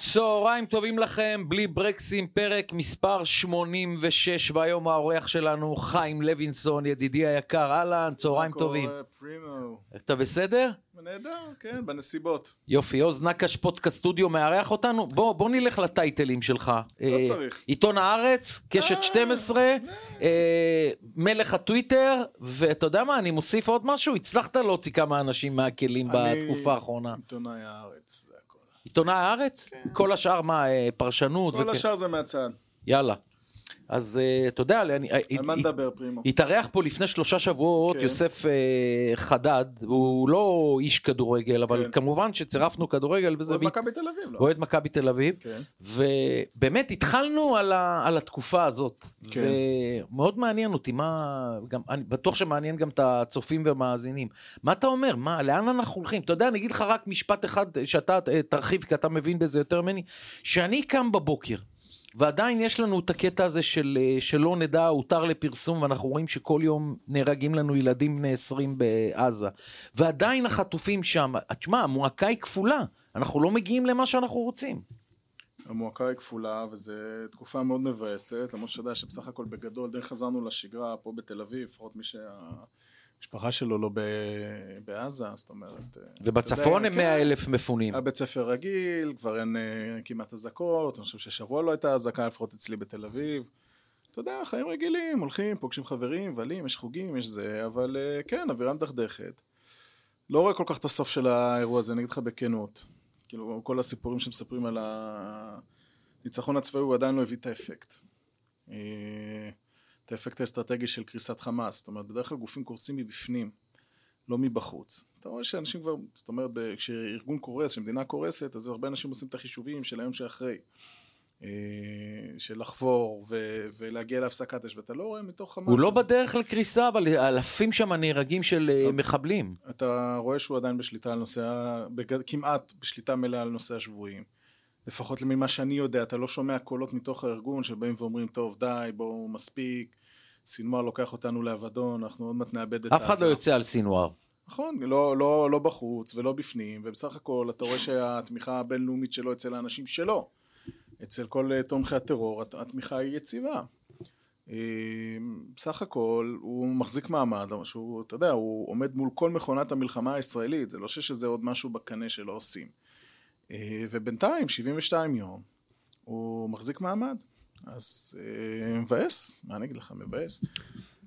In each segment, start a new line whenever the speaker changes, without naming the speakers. צהריים טובים לכם, בלי ברקסים, פרק מספר 86, והיום האורח שלנו חיים לוינסון, ידידי היקר, אהלן, צהריים
מה
טובים.
קורה, פרימו.
אתה בסדר?
נהדר, כן, בנסיבות.
יופי, עוז נקש פודקאסט סטודיו מארח אותנו? בוא, בוא נלך לטייטלים שלך.
לא
אה,
צריך.
עיתון הארץ, קשת
אה,
12, אה, מלך הטוויטר, ואתה יודע מה, אני מוסיף עוד משהו, הצלחת להוציא כמה אנשים מהכלים
אני-
בתקופה האחרונה.
עיתונאי הארץ, זה הכל.
עיתונאי הארץ? כל השאר מה, אה, פרשנות?
כן. כל
וכ-
השאר זה מהצד.
יאללה. אז אה, אתה יודע, אני... אה,
על מה
הת-
נדבר, פרימו?
התארח פה לפני שלושה שבועות
כן.
יוסף אה, חדד, הוא לא איש כדורגל, אבל
כן.
כמובן שצירפנו כדורגל וזה...
זה
ב-
מכבי תל אביב, לא?
אוהד מכבי תל אביב,
כן.
ובאמת התחלנו על, ה, על התקופה הזאת,
כן.
ומאוד מעניין אותי, מה, גם, אני בטוח שמעניין גם את הצופים והמאזינים, מה אתה אומר, מה, לאן אנחנו הולכים? אתה יודע, אני אגיד לך רק משפט אחד שאתה אה, תרחיב, כי אתה מבין בזה יותר ממני, שאני קם בבוקר. ועדיין יש לנו את הקטע הזה של אה, שלא נדע, הותר לפרסום, ואנחנו רואים שכל יום נהרגים לנו ילדים בני 20 בעזה. ועדיין החטופים שם, תשמע, המועקה היא כפולה, אנחנו לא מגיעים למה שאנחנו רוצים.
המועקה היא כפולה, וזו תקופה מאוד מבאסת, למרות שאתה יודע שבסך הכל בגדול די חזרנו לשגרה פה בתל אביב, לפחות מי שהמשפחה שלו לא ב- בעזה, זאת אומרת... אה,
ובצפון
אתה יודע,
הם
כן.
100 אלף מפונים.
הבית ספר רגיל, כבר אין אה, כמעט אזעקות, אני חושב ששבוע לא הייתה אזעקה, לפחות אצלי בתל אביב. אתה יודע, חיים רגילים, הולכים, פוגשים חברים, מבלים, יש חוגים, יש זה, אבל אה, כן, אווירה מדכדכת. לא רואה כל כך את הסוף של האירוע הזה, אני אגיד לך בכנות. כאילו, כל הסיפורים שמספרים על הניצחון הצבאי, הוא עדיין לא הביא את האפקט. אה, את האפקט האסטרטגי של קריסת חמאס. זאת אומרת, בדרך כלל גופים קורסים מבפנים. לא מבחוץ. אתה רואה שאנשים כבר, זאת אומרת, ב- כשארגון קורס, כשמדינה קורסת, אז הרבה אנשים עושים את החישובים של היום שאחרי. אה, של לחבור ו- ולהגיע להפסקת אש, ואתה לא רואה מתוך חמאס.
הוא לא
הזה.
בדרך לקריסה, אבל אלפים שם נהרגים של
אוקיי.
אה, מחבלים.
אתה רואה שהוא עדיין בשליטה על נושא, ה- בג- כמעט בשליטה מלאה על נושא השבויים. לפחות ממה שאני יודע, אתה לא שומע קולות מתוך הארגון שבאים ואומרים, טוב, די, בואו, מספיק, סינואר לוקח אותנו לאבדון, אנחנו עוד מעט נאבד את
אף אחד
עזה."
לא יוצא על סינואר.
נכון, לא, לא, לא בחוץ ולא בפנים, ובסך הכל אתה רואה שהתמיכה הבינלאומית שלו אצל האנשים שלו, אצל כל אה, תומכי הטרור, הת- התמיכה היא יציבה. אה, בסך הכל הוא מחזיק מעמד, לא, שהוא, אתה יודע, הוא עומד מול כל מכונת המלחמה הישראלית, זה לא שיש איזה עוד משהו בקנה שלא עושים. אה, ובינתיים, 72 יום, הוא מחזיק מעמד. אז אה, מבאס, מה אני אגיד לך, מבאס.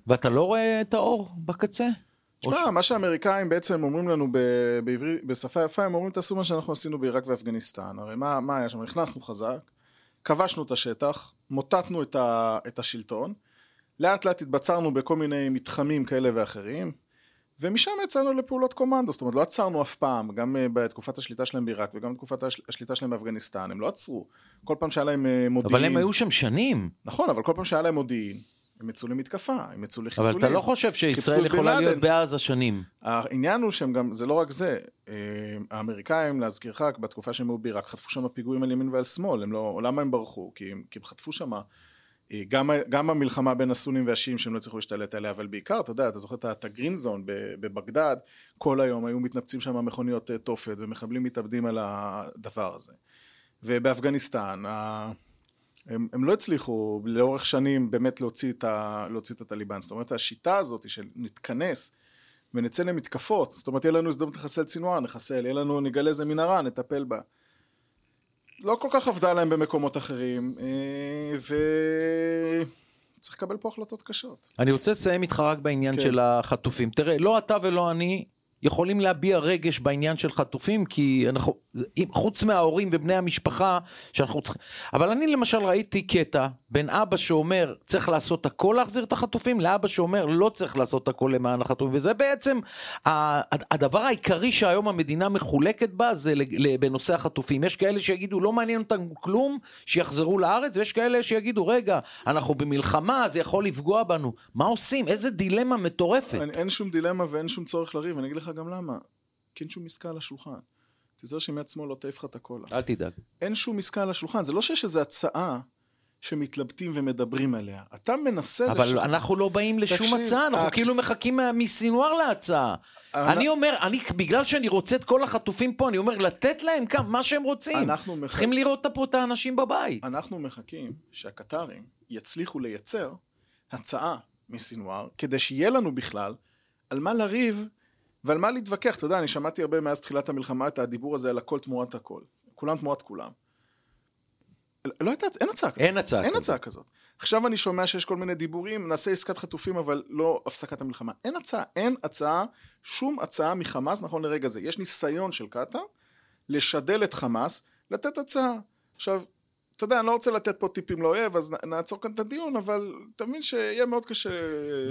ואתה לא רואה את האור בקצה?
תשמע, מה שהאמריקאים בעצם אומרים לנו ב- בעברית, בשפה יפה, הם אומרים תעשו מה שאנחנו עשינו בעיראק ואפגניסטן. הרי מה, מה היה שם? נכנסנו חזק, כבשנו את השטח, מוטטנו את, ה, את השלטון, לאט לאט התבצרנו בכל מיני מתחמים כאלה ואחרים, ומשם יצאנו לפעולות קומנדו, זאת אומרת לא עצרנו אף פעם, גם אה, בתקופת השליטה שלהם בעיראק וגם בתקופת הש- השליטה שלהם באפגניסטן, הם לא עצרו. כל פעם שהיה להם אה, מודיעין,
אבל הם היו שם שנים.
נכון, אבל כל פעם שהיה להם מודיעין, הם יצאו למתקפה, הם יצאו לחיסולים.
אבל אתה לא חושב שישראל
חיסול
יכולה
בן
להיות
לאדן.
בעזה שנים.
העניין הוא שהם גם, זה לא רק זה, אה, האמריקאים להזכירך בתקופה שהם היו בעיראק חטפו שם פיגועים על ימין ועל שמאל, הם לא, למה הם ברחו? כי הם, כי הם חטפו שם גם, ה- גם המלחמה בין הסונים והשיעים שהם לא הצליחו להשתלט עליה, אבל בעיקר, אתה יודע, אתה זוכר את ה- את הגרין זון ב- בבגדד, כל היום היו מתנפצים שם מכוניות אה, תופת ומחבלים מתאבדים על הדבר הזה. ובאפגניסטן, ה- הם, הם לא הצליחו לאורך שנים באמת להוציא את, ה, להוציא את הטליבן, זאת אומרת השיטה הזאת של נתכנס ונצא למתקפות, זאת אומרת יהיה לנו הזדמנות לחסל צינואר, נחסל, יהיה לנו, נגלה איזה מנהרה, נטפל בה. לא כל כך עבדה להם במקומות אחרים, אה, ו... צריך לקבל פה החלטות קשות.
אני רוצה לסיים איתך רק בעניין
כן.
של החטופים. תראה, לא אתה ולא אני יכולים להביע רגש בעניין של חטופים, כי אנחנו, זה- אם- חוץ מההורים ובני המשפחה, שאנחנו צריכים... אבל אני למשל ראיתי קטע בין אבא שאומר, צריך לעשות הכל להחזיר את החטופים, לאבא שאומר, לא צריך לעשות הכל למען החטופים. וזה בעצם ה- הד- הדבר העיקרי שהיום המדינה מחולקת בה, זה לג- ל- בנושא החטופים. יש כאלה שיגידו, לא מעניין אותנו כלום, שיחזרו לארץ, ויש כאלה שיגידו, רגע, אנחנו במלחמה, זה יכול לפגוע בנו. מה עושים? איזה דילמה מטורפת.
אין, אין שום דילמה ואין שום צורך לריב, אני אגיד לך גם למה. כי אין שום עסקה על השולחן. תיזהר שיד שמאל לא תעיף לך את הקולה.
אל תדאג.
אין שום עסקה על השולחן, זה לא שיש איזו הצעה שמתלבטים ומדברים עליה. אתה מנסה...
אבל
לשכנע-
אנחנו לא באים לשום
תקשיב,
הצעה, אנחנו
אה,
כאילו מחכים מה- מסינואר להצעה. אני אומר, אני, בגלל שאני רוצה את כל החטופים פה, אני אומר, לתת להם כמה, מה שהם רוצים.
אנחנו מח-
צריכים לראות פה את האנשים בבית.
אנחנו מחכים שהקטרים יצליחו לייצר הצעה מסינואר, כדי שיהיה לנו בכלל על מה לריב ועל מה להתווכח. אתה יודע, אני שמעתי הרבה מאז תחילת המלחמה את הדיבור הזה על הכל תמורת הכל. כולם תמורת כולם. לא הייתה, אין הצעה כזאת.
אין הצעה.
אין
כזאת.
הצעה כזאת. עכשיו אני שומע שיש כל מיני דיבורים, נעשה עסקת חטופים אבל לא הפסקת המלחמה. אין הצעה, אין הצעה, שום הצעה מחמאס נכון לרגע זה. יש ניסיון של קטאר לשדל את חמאס, לתת הצעה. עכשיו, אתה יודע, אני לא רוצה לתת פה טיפים לאויב, אז נ- נעצור כאן את הדיון, אבל תבין שיהיה מאוד קשה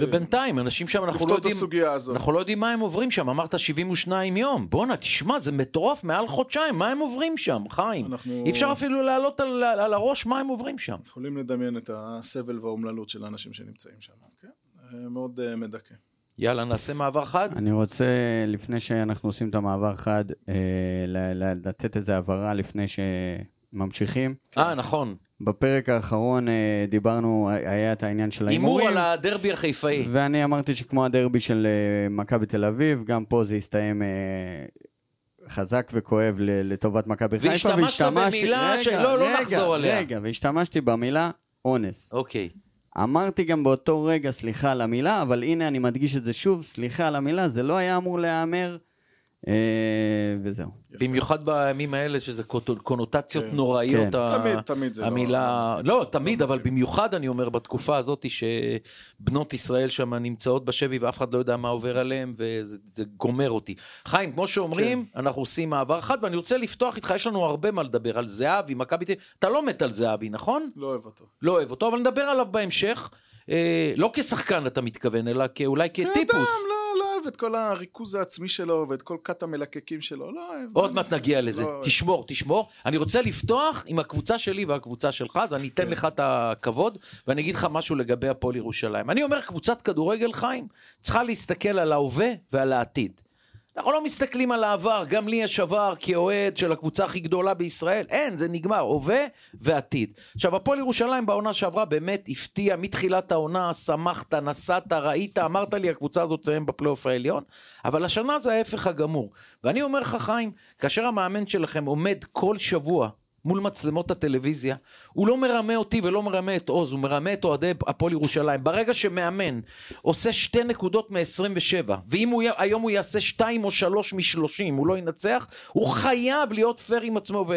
ובינתיים, אנשים שם, אנחנו לא
לפתור את
יודעים...
הסוגיה הזאת.
אנחנו לא יודעים מה הם עוברים שם, אמרת 72 יום, בואנה, תשמע, זה מטורף, מעל חודשיים, מה הם עוברים שם, חיים?
אנחנו
אי אפשר אפילו להעלות על, על, על הראש מה הם עוברים שם.
יכולים לדמיין את הסבל והאומללות של האנשים שנמצאים שם, כן? אה, מאוד אה, מדכא.
יאללה, נעשה מעבר חד.
אני רוצה, לפני שאנחנו עושים את המעבר חד, אה, ל- ל- לתת איזו הבהרה לפני שממשיכים.
אה, נכון,
בפרק האחרון אה, דיברנו, היה את העניין של ההימורים.
הימור על הדרבי החיפאי.
ואני אמרתי שכמו הדרבי של אה, מכבי תל אביב, גם פה זה הסתיים אה, חזק וכואב ל- לטובת מכבי חיפה.
והשתמשת במילה
רגע,
שלא, לא
רגע,
נחזור עליה.
רגע, והשתמשתי במילה אונס.
אוקיי.
אמרתי גם באותו רגע סליחה על המילה, אבל הנה אני מדגיש את זה שוב, סליחה על המילה, זה לא היה אמור להיאמר, אה, וזהו.
במיוחד בימים האלה שזה קוטו- קונוטציות
כן.
נוראיות.
כן.
ה-
תמיד, תמיד זה לא...
אה, המילה, לא, תמיד,
לא
אבל
מתאים.
במיוחד אני אומר בתקופה הזאת שבנות ישראל שם נמצאות בשבי ואף אחד לא יודע מה עובר עליהם וזה זה גומר אותי. חיים, כמו שאומרים,
כן.
אנחנו עושים מעבר חד ואני רוצה לפתוח איתך, יש לנו הרבה מה לדבר על זהבי, מכבי תל אביב, אתה לא מת על זהבי, נכון?
לא אוהב אותו.
לא אוהב אותו, אבל נדבר עליו בהמשך. אה, לא כשחקן אתה מתכוון, אלא כ- אולי
כאדם,
כטיפוס.
לא, לא אוהב את כל הריכוז העצמי שלו ואת כל כת המלקקים שלו, לא אוהב.
עוד
לא
מעט
אוהב.
נגיע לזה,
לא אוהב.
תשמור, תשמור. אני רוצה לפתוח עם הקבוצה שלי והקבוצה שלך, אז אני אתן
כן.
לך את הכבוד, ואני אגיד לך משהו לגבי הפועל ירושלים. אני אומר, קבוצת כדורגל, חיים, צריכה להסתכל על ההווה ועל העתיד. אנחנו לא מסתכלים על העבר, גם לי יש עבר כאוהד של הקבוצה הכי גדולה בישראל, אין, זה נגמר, הווה ועתיד. עכשיו, הפועל ירושלים בעונה שעברה באמת הפתיע מתחילת העונה, שמחת, נסעת, ראית, אמרת לי, הקבוצה הזאת תסיים בפלייאוף העליון, אבל השנה זה ההפך הגמור. ואני אומר לך, חיים, כאשר המאמן שלכם עומד כל שבוע מול מצלמות הטלוויזיה, הוא לא מרמה אותי ולא מרמה את עוז, הוא מרמה את אוהדי הפועל ירושלים. ברגע שמאמן עושה שתי נקודות מ-27, ואם הוא, י- היום הוא יעשה שתיים או שלוש מ-30, הוא לא ינצח, הוא חייב להיות פייר עם עצמו ו...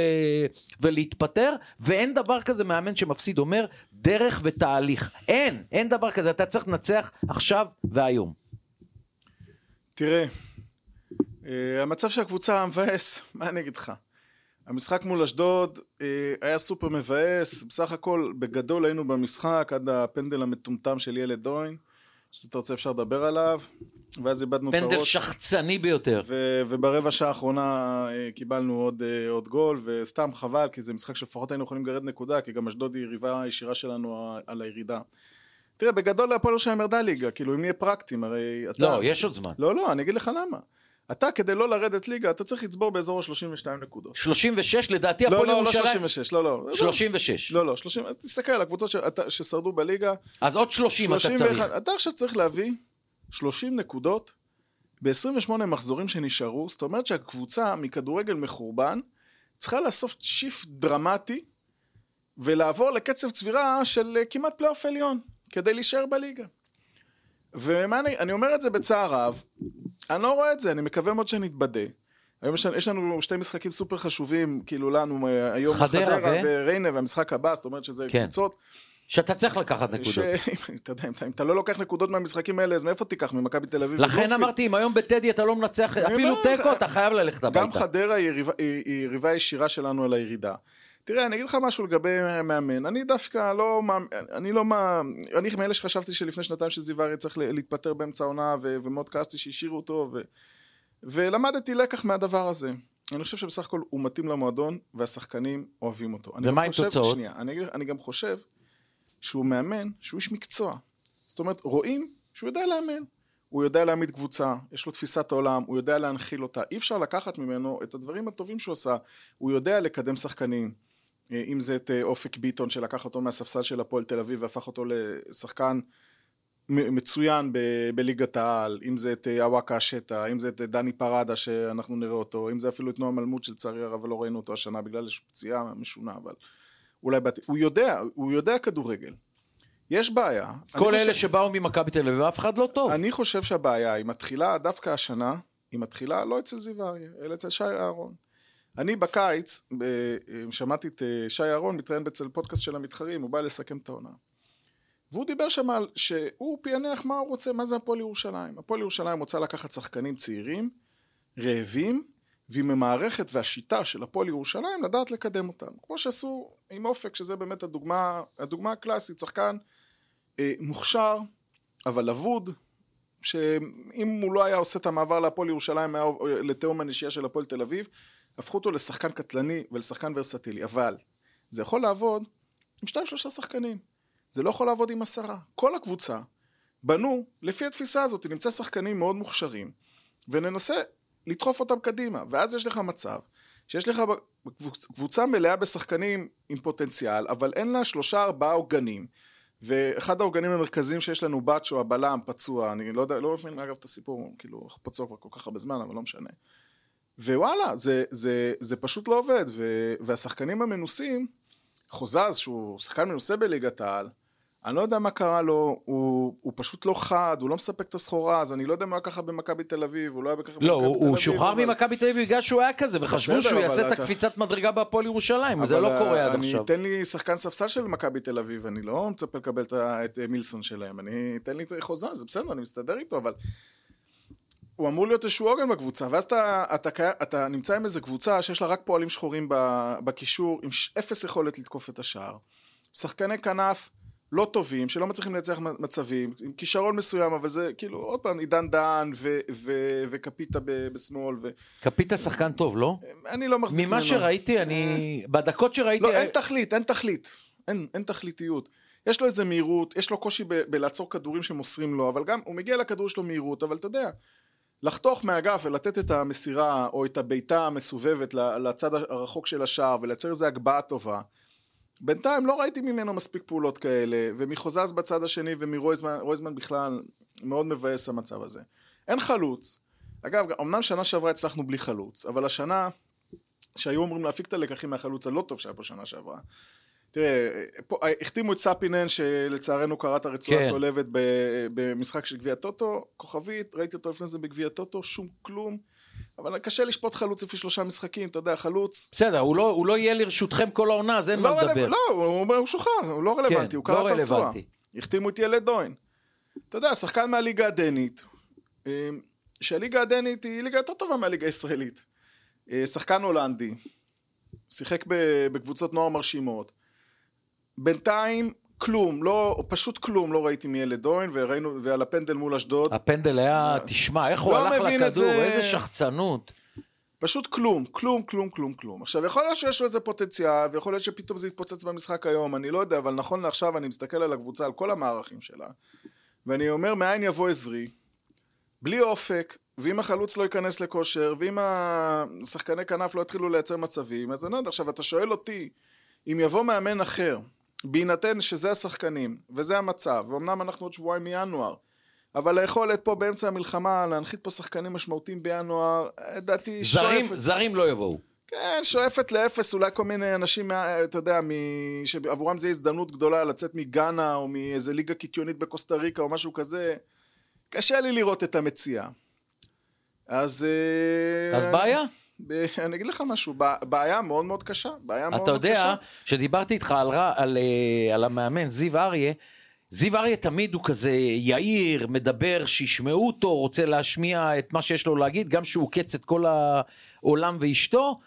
ולהתפטר, ואין דבר כזה מאמן שמפסיד אומר דרך ותהליך. אין, אין דבר כזה, אתה צריך לנצח עכשיו והיום.
תראה, אה, המצב של הקבוצה מבאס, מה אני אגיד לך? המשחק מול אשדוד אה, היה סופר מבאס, בסך הכל בגדול היינו במשחק עד הפנדל המטומטם של ילד דוין, שאתה רוצה אפשר לדבר עליו, ואז איבדנו את הראש.
פנדל שחצני ביותר.
ו- וברבע שעה האחרונה אה, קיבלנו עוד, אה, עוד גול, וסתם חבל, כי זה משחק שלפחות היינו יכולים לגרד נקודה, כי גם אשדוד היא יריבה ישירה שלנו ה- על הירידה. תראה, בגדול הפועל ירושלים ירדה ליגה, כאילו אם נהיה פרקטיים, הרי אתה...
לא, יש עוד זמן.
לא, לא, אני אגיד לך למה. אתה, כדי לא לרדת ליגה, אתה צריך לצבור באזור ה-32 נקודות.
36 לדעתי
לא,
הפועל
לא, לא
ירושלים.
36, לא, לא.
36.
לא, לא, 30, אז תסתכל על הקבוצות שאתה- ששרדו בליגה,
אז עוד 30 אתה צריך.
אתה עכשיו צריך להביא 30 נקודות ב-28 מחזורים שנשארו, זאת אומרת שהקבוצה מכדורגל מחורבן צריכה לעשות שיפט דרמטי ולעבור לקצב צבירה של אה, כמעט פלייאוף עליון כדי להישאר בליגה. ומה אני, אני אומר את זה בצער רב, אני לא רואה את זה, אני מקווה מאוד שנתבדה. היום יש לנו, יש לנו שתי משחקים סופר חשובים, כאילו לנו אה, היום
חדרה ו-
וריינה והמשחק הבא, זאת אומרת שזה
כן.
קבוצות
שאתה צריך לקחת נקודות.
ש- אתה יודע, אם אתה לא לוקח נקודות מהמשחקים האלה, אז מאיפה תיקח? ממכבי תל אביב?
לכן
יופי.
אמרתי, אם היום בטדי אתה לא מנצח
אני
אפילו
אומר לך,
תיקו, אתה חייב ללכת
גם
הביתה.
חדרה היא יריבה- היא היא יריבה ישירה שלנו על הירידה. תראה, אני אגיד לך משהו לגבי מאמן. אני דווקא לא... מאמ- אני לא... מה- אני מאלה שחשבתי שלפני שנתיים שזיו אריה צריך ל- להתפטר באמצע העונה, ו- ומאוד כעסתי שהשאירו אותו, ו- ולמדתי לקח מהדבר הזה. אני חושב שבסך הכל הוא מתאים למועדון, והשחקנים אוהבים אותו. אני גם
ומה עם
חושב-
תוצאות?
שנייה, אני, אגיד- אני גם חושב שהוא מאמן, שהוא איש מקצוע. זאת אומרת, רואים שהוא יודע לאמן. הוא יודע להעמיד קבוצה, יש לו תפיסת עולם, הוא יודע להנחיל אותה, אי אפשר לקחת ממנו את הדברים הטובים שהוא עשה, הוא יודע לקדם שחקנים, אה, אם זה את אה, אופק ביטון שלקח אותו מהספסל של הפועל תל אביב והפך אותו לשחקן מ- מצוין ב- בליגת העל, אם זה את אה, אווקה השטה, אם זה את אה, דני פרדה שאנחנו נראה אותו, אם זה אפילו את נועם אלמוט שלצערי הרב לא ראינו אותו השנה בגלל איזושהי פציעה משונה, אבל אולי בעתיד, הוא יודע, הוא יודע כדורגל. יש בעיה. אני
כל אלה
חושב-
שבאו ממכבי תל אביב, אף אחד לא טוב.
אני חושב שהבעיה היא מתחילה דווקא השנה, היא מתחילה לא אצל זיו אריה, אלא אצל שי אהרון. אני בקיץ, ב- שמעתי את אה, שי אהרון מתראיין אצל פודקאסט של המתחרים, הוא בא לסכם את העונה. והוא דיבר שם על שהוא פענח מה הוא רוצה, מה זה הפועל ירושלים. הפועל ירושלים רוצה לקחת שחקנים צעירים, רעבים, ועם המערכת והשיטה של הפועל ירושלים לדעת לקדם אותם. כמו שעשו עם אופק, שזה באמת הדוגמה, הדוגמה הקלאסית, שחקן אה, מוכשר, אבל אבוד, שאם הוא לא היה עושה את המעבר להפועל ירושלים היה עוב- לתהום הנשייה של הפועל תל אביב, הפכו אותו לשחקן קטלני ולשחקן ורסטילי. אבל זה יכול לעבוד עם שניים שלושה שחקנים. זה לא יכול לעבוד עם עשרה. כל הקבוצה בנו לפי התפיסה הזאת, נמצא שחקנים מאוד מוכשרים, וננסה לדחוף אותם קדימה. ואז יש לך מצב שיש לך ב- קבוצ- קבוצה מלאה בשחקנים עם פוטנציאל, אבל אין לה שלושה ארבעה עוגנים. ואחד העוגנים המרכזיים שיש לנו, בצ'ו, הבלם, פצוע, אני לא יודע, לא מבין אגב את הסיפור, כאילו, הוא פצוע כבר כל כך הרבה זמן, אבל לא משנה. ווואלה, זה, זה, זה פשוט לא עובד, ו, והשחקנים המנוסים, חוזז, שהוא שחקן מנוסה בליגת העל, אני לא יודע מה קרה לו, הוא, הוא פשוט לא חד, הוא לא מספק את הסחורה, אז אני לא יודע מה ככה במכבי תל אביב, הוא לא היה ככה במכבי
לא,
תל אביב.
הוא הוא שוחרר
אבל-
ממכבי תל אביב בגלל שהוא היה כזה, וחשבו
בסדר,
שהוא
אבל
יעשה את
אתה-
הקפיצת מדרגה בהפועל ירושלים, זה
אבל
לא
ה-
קורה עד
אני
עכשיו.
תן לי שחקן ספסל של מכבי תל אביב, אני לא מצפה לקבל את, ה- את אה, מילסון שלהם, אני תן לי את חוזה, זה בסדר, אני מסתדר איתו, אבל... הוא אמור להיות איזשהו עוגן בקבוצה, ואז אתה, אתה, אתה, אתה נמצא עם איזה קבוצה שיש לה רק פועלים שחורים ב- בקישור, עם ש- אפס יכולת לתקוף את השער. שחקני כנף לא טובים, שלא מצליחים לייצר מ- מצבים, עם כישרון מסוים, אבל זה כאילו, עוד פעם, עידן דהן ו- ו- וקפיטה ב- בשמאל,
קפיטה שחקן טוב, לא?
ואני לא מחזיק
ממה שראיתי, אני... בדקות שראיתי...
לא, אין תכלית, אין תכלית. אין, אין תכליתיות. יש לו איזה מהירות, יש לו קושי ב- בלעצור כדורים שמוסרים לו, אבל גם, הוא מגיע לכדור שלו מהירות, אבל אתה יודע, לחתוך מהאגף ולתת את המסירה, או את הבעיטה המסובבת ל- לצד הרחוק של השער, ולייצר איזו הגבהה טובה. בינתיים לא ראיתי ממנו מספיק פעולות כאלה, ומחוזז בצד השני ומרויזמן רויזמן בכלל, מאוד מבאס המצב הזה. אין חלוץ. אגב, אמנם שנה שעברה הצלחנו בלי חלוץ, אבל השנה, שהיו אמורים להפיק את הלקחים מהחלוץ הלא טוב שהיה פה שנה שעברה. תראה, פה, אה, החתימו את ספינן שלצערנו קרע את הרצועה
כן.
הצולבת ב, במשחק של גביע טוטו, כוכבית, ראיתי אותו לפני זה בגביע טוטו, שום כלום, אבל קשה לשפוט חלוץ לפי שלושה משחקים, אתה יודע, חלוץ...
בסדר, הוא לא- הוא לא יהיה לרשותכם כל העונה, אז אין
לא,
מה
רלו-
לדבר.
לא, הוא אומר, הוא שוחרר, הוא לא
כן,
רלוונטי, הוא
לא
קרע את הרצועה.
רלוונטי.
החתימו את ילד דוין. אתה יודע, שחקן מהליגה הדנית, אה, שהליגה הדנית היא ליגה יותר טובה מהליגה הישראלית. אה, שחקן הולנדי, שיחק ב- בקבוצות נוער מרשימות. בינתיים, כלום, לא, פשוט כלום לא ראיתי מילד דוין, וראינו, ועל הפנדל מול אשדוד,
הפנדל היה, תשמע, איך הוא
לא
הלך
מבין את
לכדור,
זה.
איזה שחצנות.
פשוט כלום, כלום, כלום, כלום, כלום. עכשיו, יכול להיות שיש לו איזה פוטנציאל, ויכול להיות שפתאום זה יתפוצץ במשחק היום, אני לא יודע, אבל נכון לעכשיו אני מסתכל על הקבוצה, על כל המערכים שלה, ואני אומר, מאין יבוא עזרי? בלי אופק, ואם החלוץ לא ייכנס לכושר, ואם השחקני כנף לא יתחילו לייצר מצבים, אז אני לא יודע. עכשיו, אתה שואל אותי, אם יבוא מאמן אחר, בהינתן שזה השחקנים, וזה המצב, ואומנם אנחנו עוד שבועיים מינואר, אבל היכולת פה באמצע המלחמה להנחית פה שחקנים משמעותיים בינואר, אה, לדעתי
זרים,
שואפת-
זרים לא יבואו.
כן, שואפת לאפס, אולי כל מיני אנשים, מה- אתה יודע, מ... שעבורם זו הזדמנות גדולה לצאת מגאנה או מאיזה ליגה קיקיונית בקוסטה ריקה או משהו כזה. קשה לי לראות את המציאה. אז... אה,
אז בעיה.
ב- אני אגיד לך משהו, ב- בעיה מאוד מאוד קשה. בעיה מאוד
אתה
מאוד
יודע,
קשה.
שדיברתי איתך על, רע- על, אה, על המאמן זיו אריה, זיו אריה תמיד הוא כזה יהיר, מדבר, שישמעו אותו, רוצה להשמיע את מה שיש לו להגיד, גם שהוא עוקץ את כל העולם ואשתו.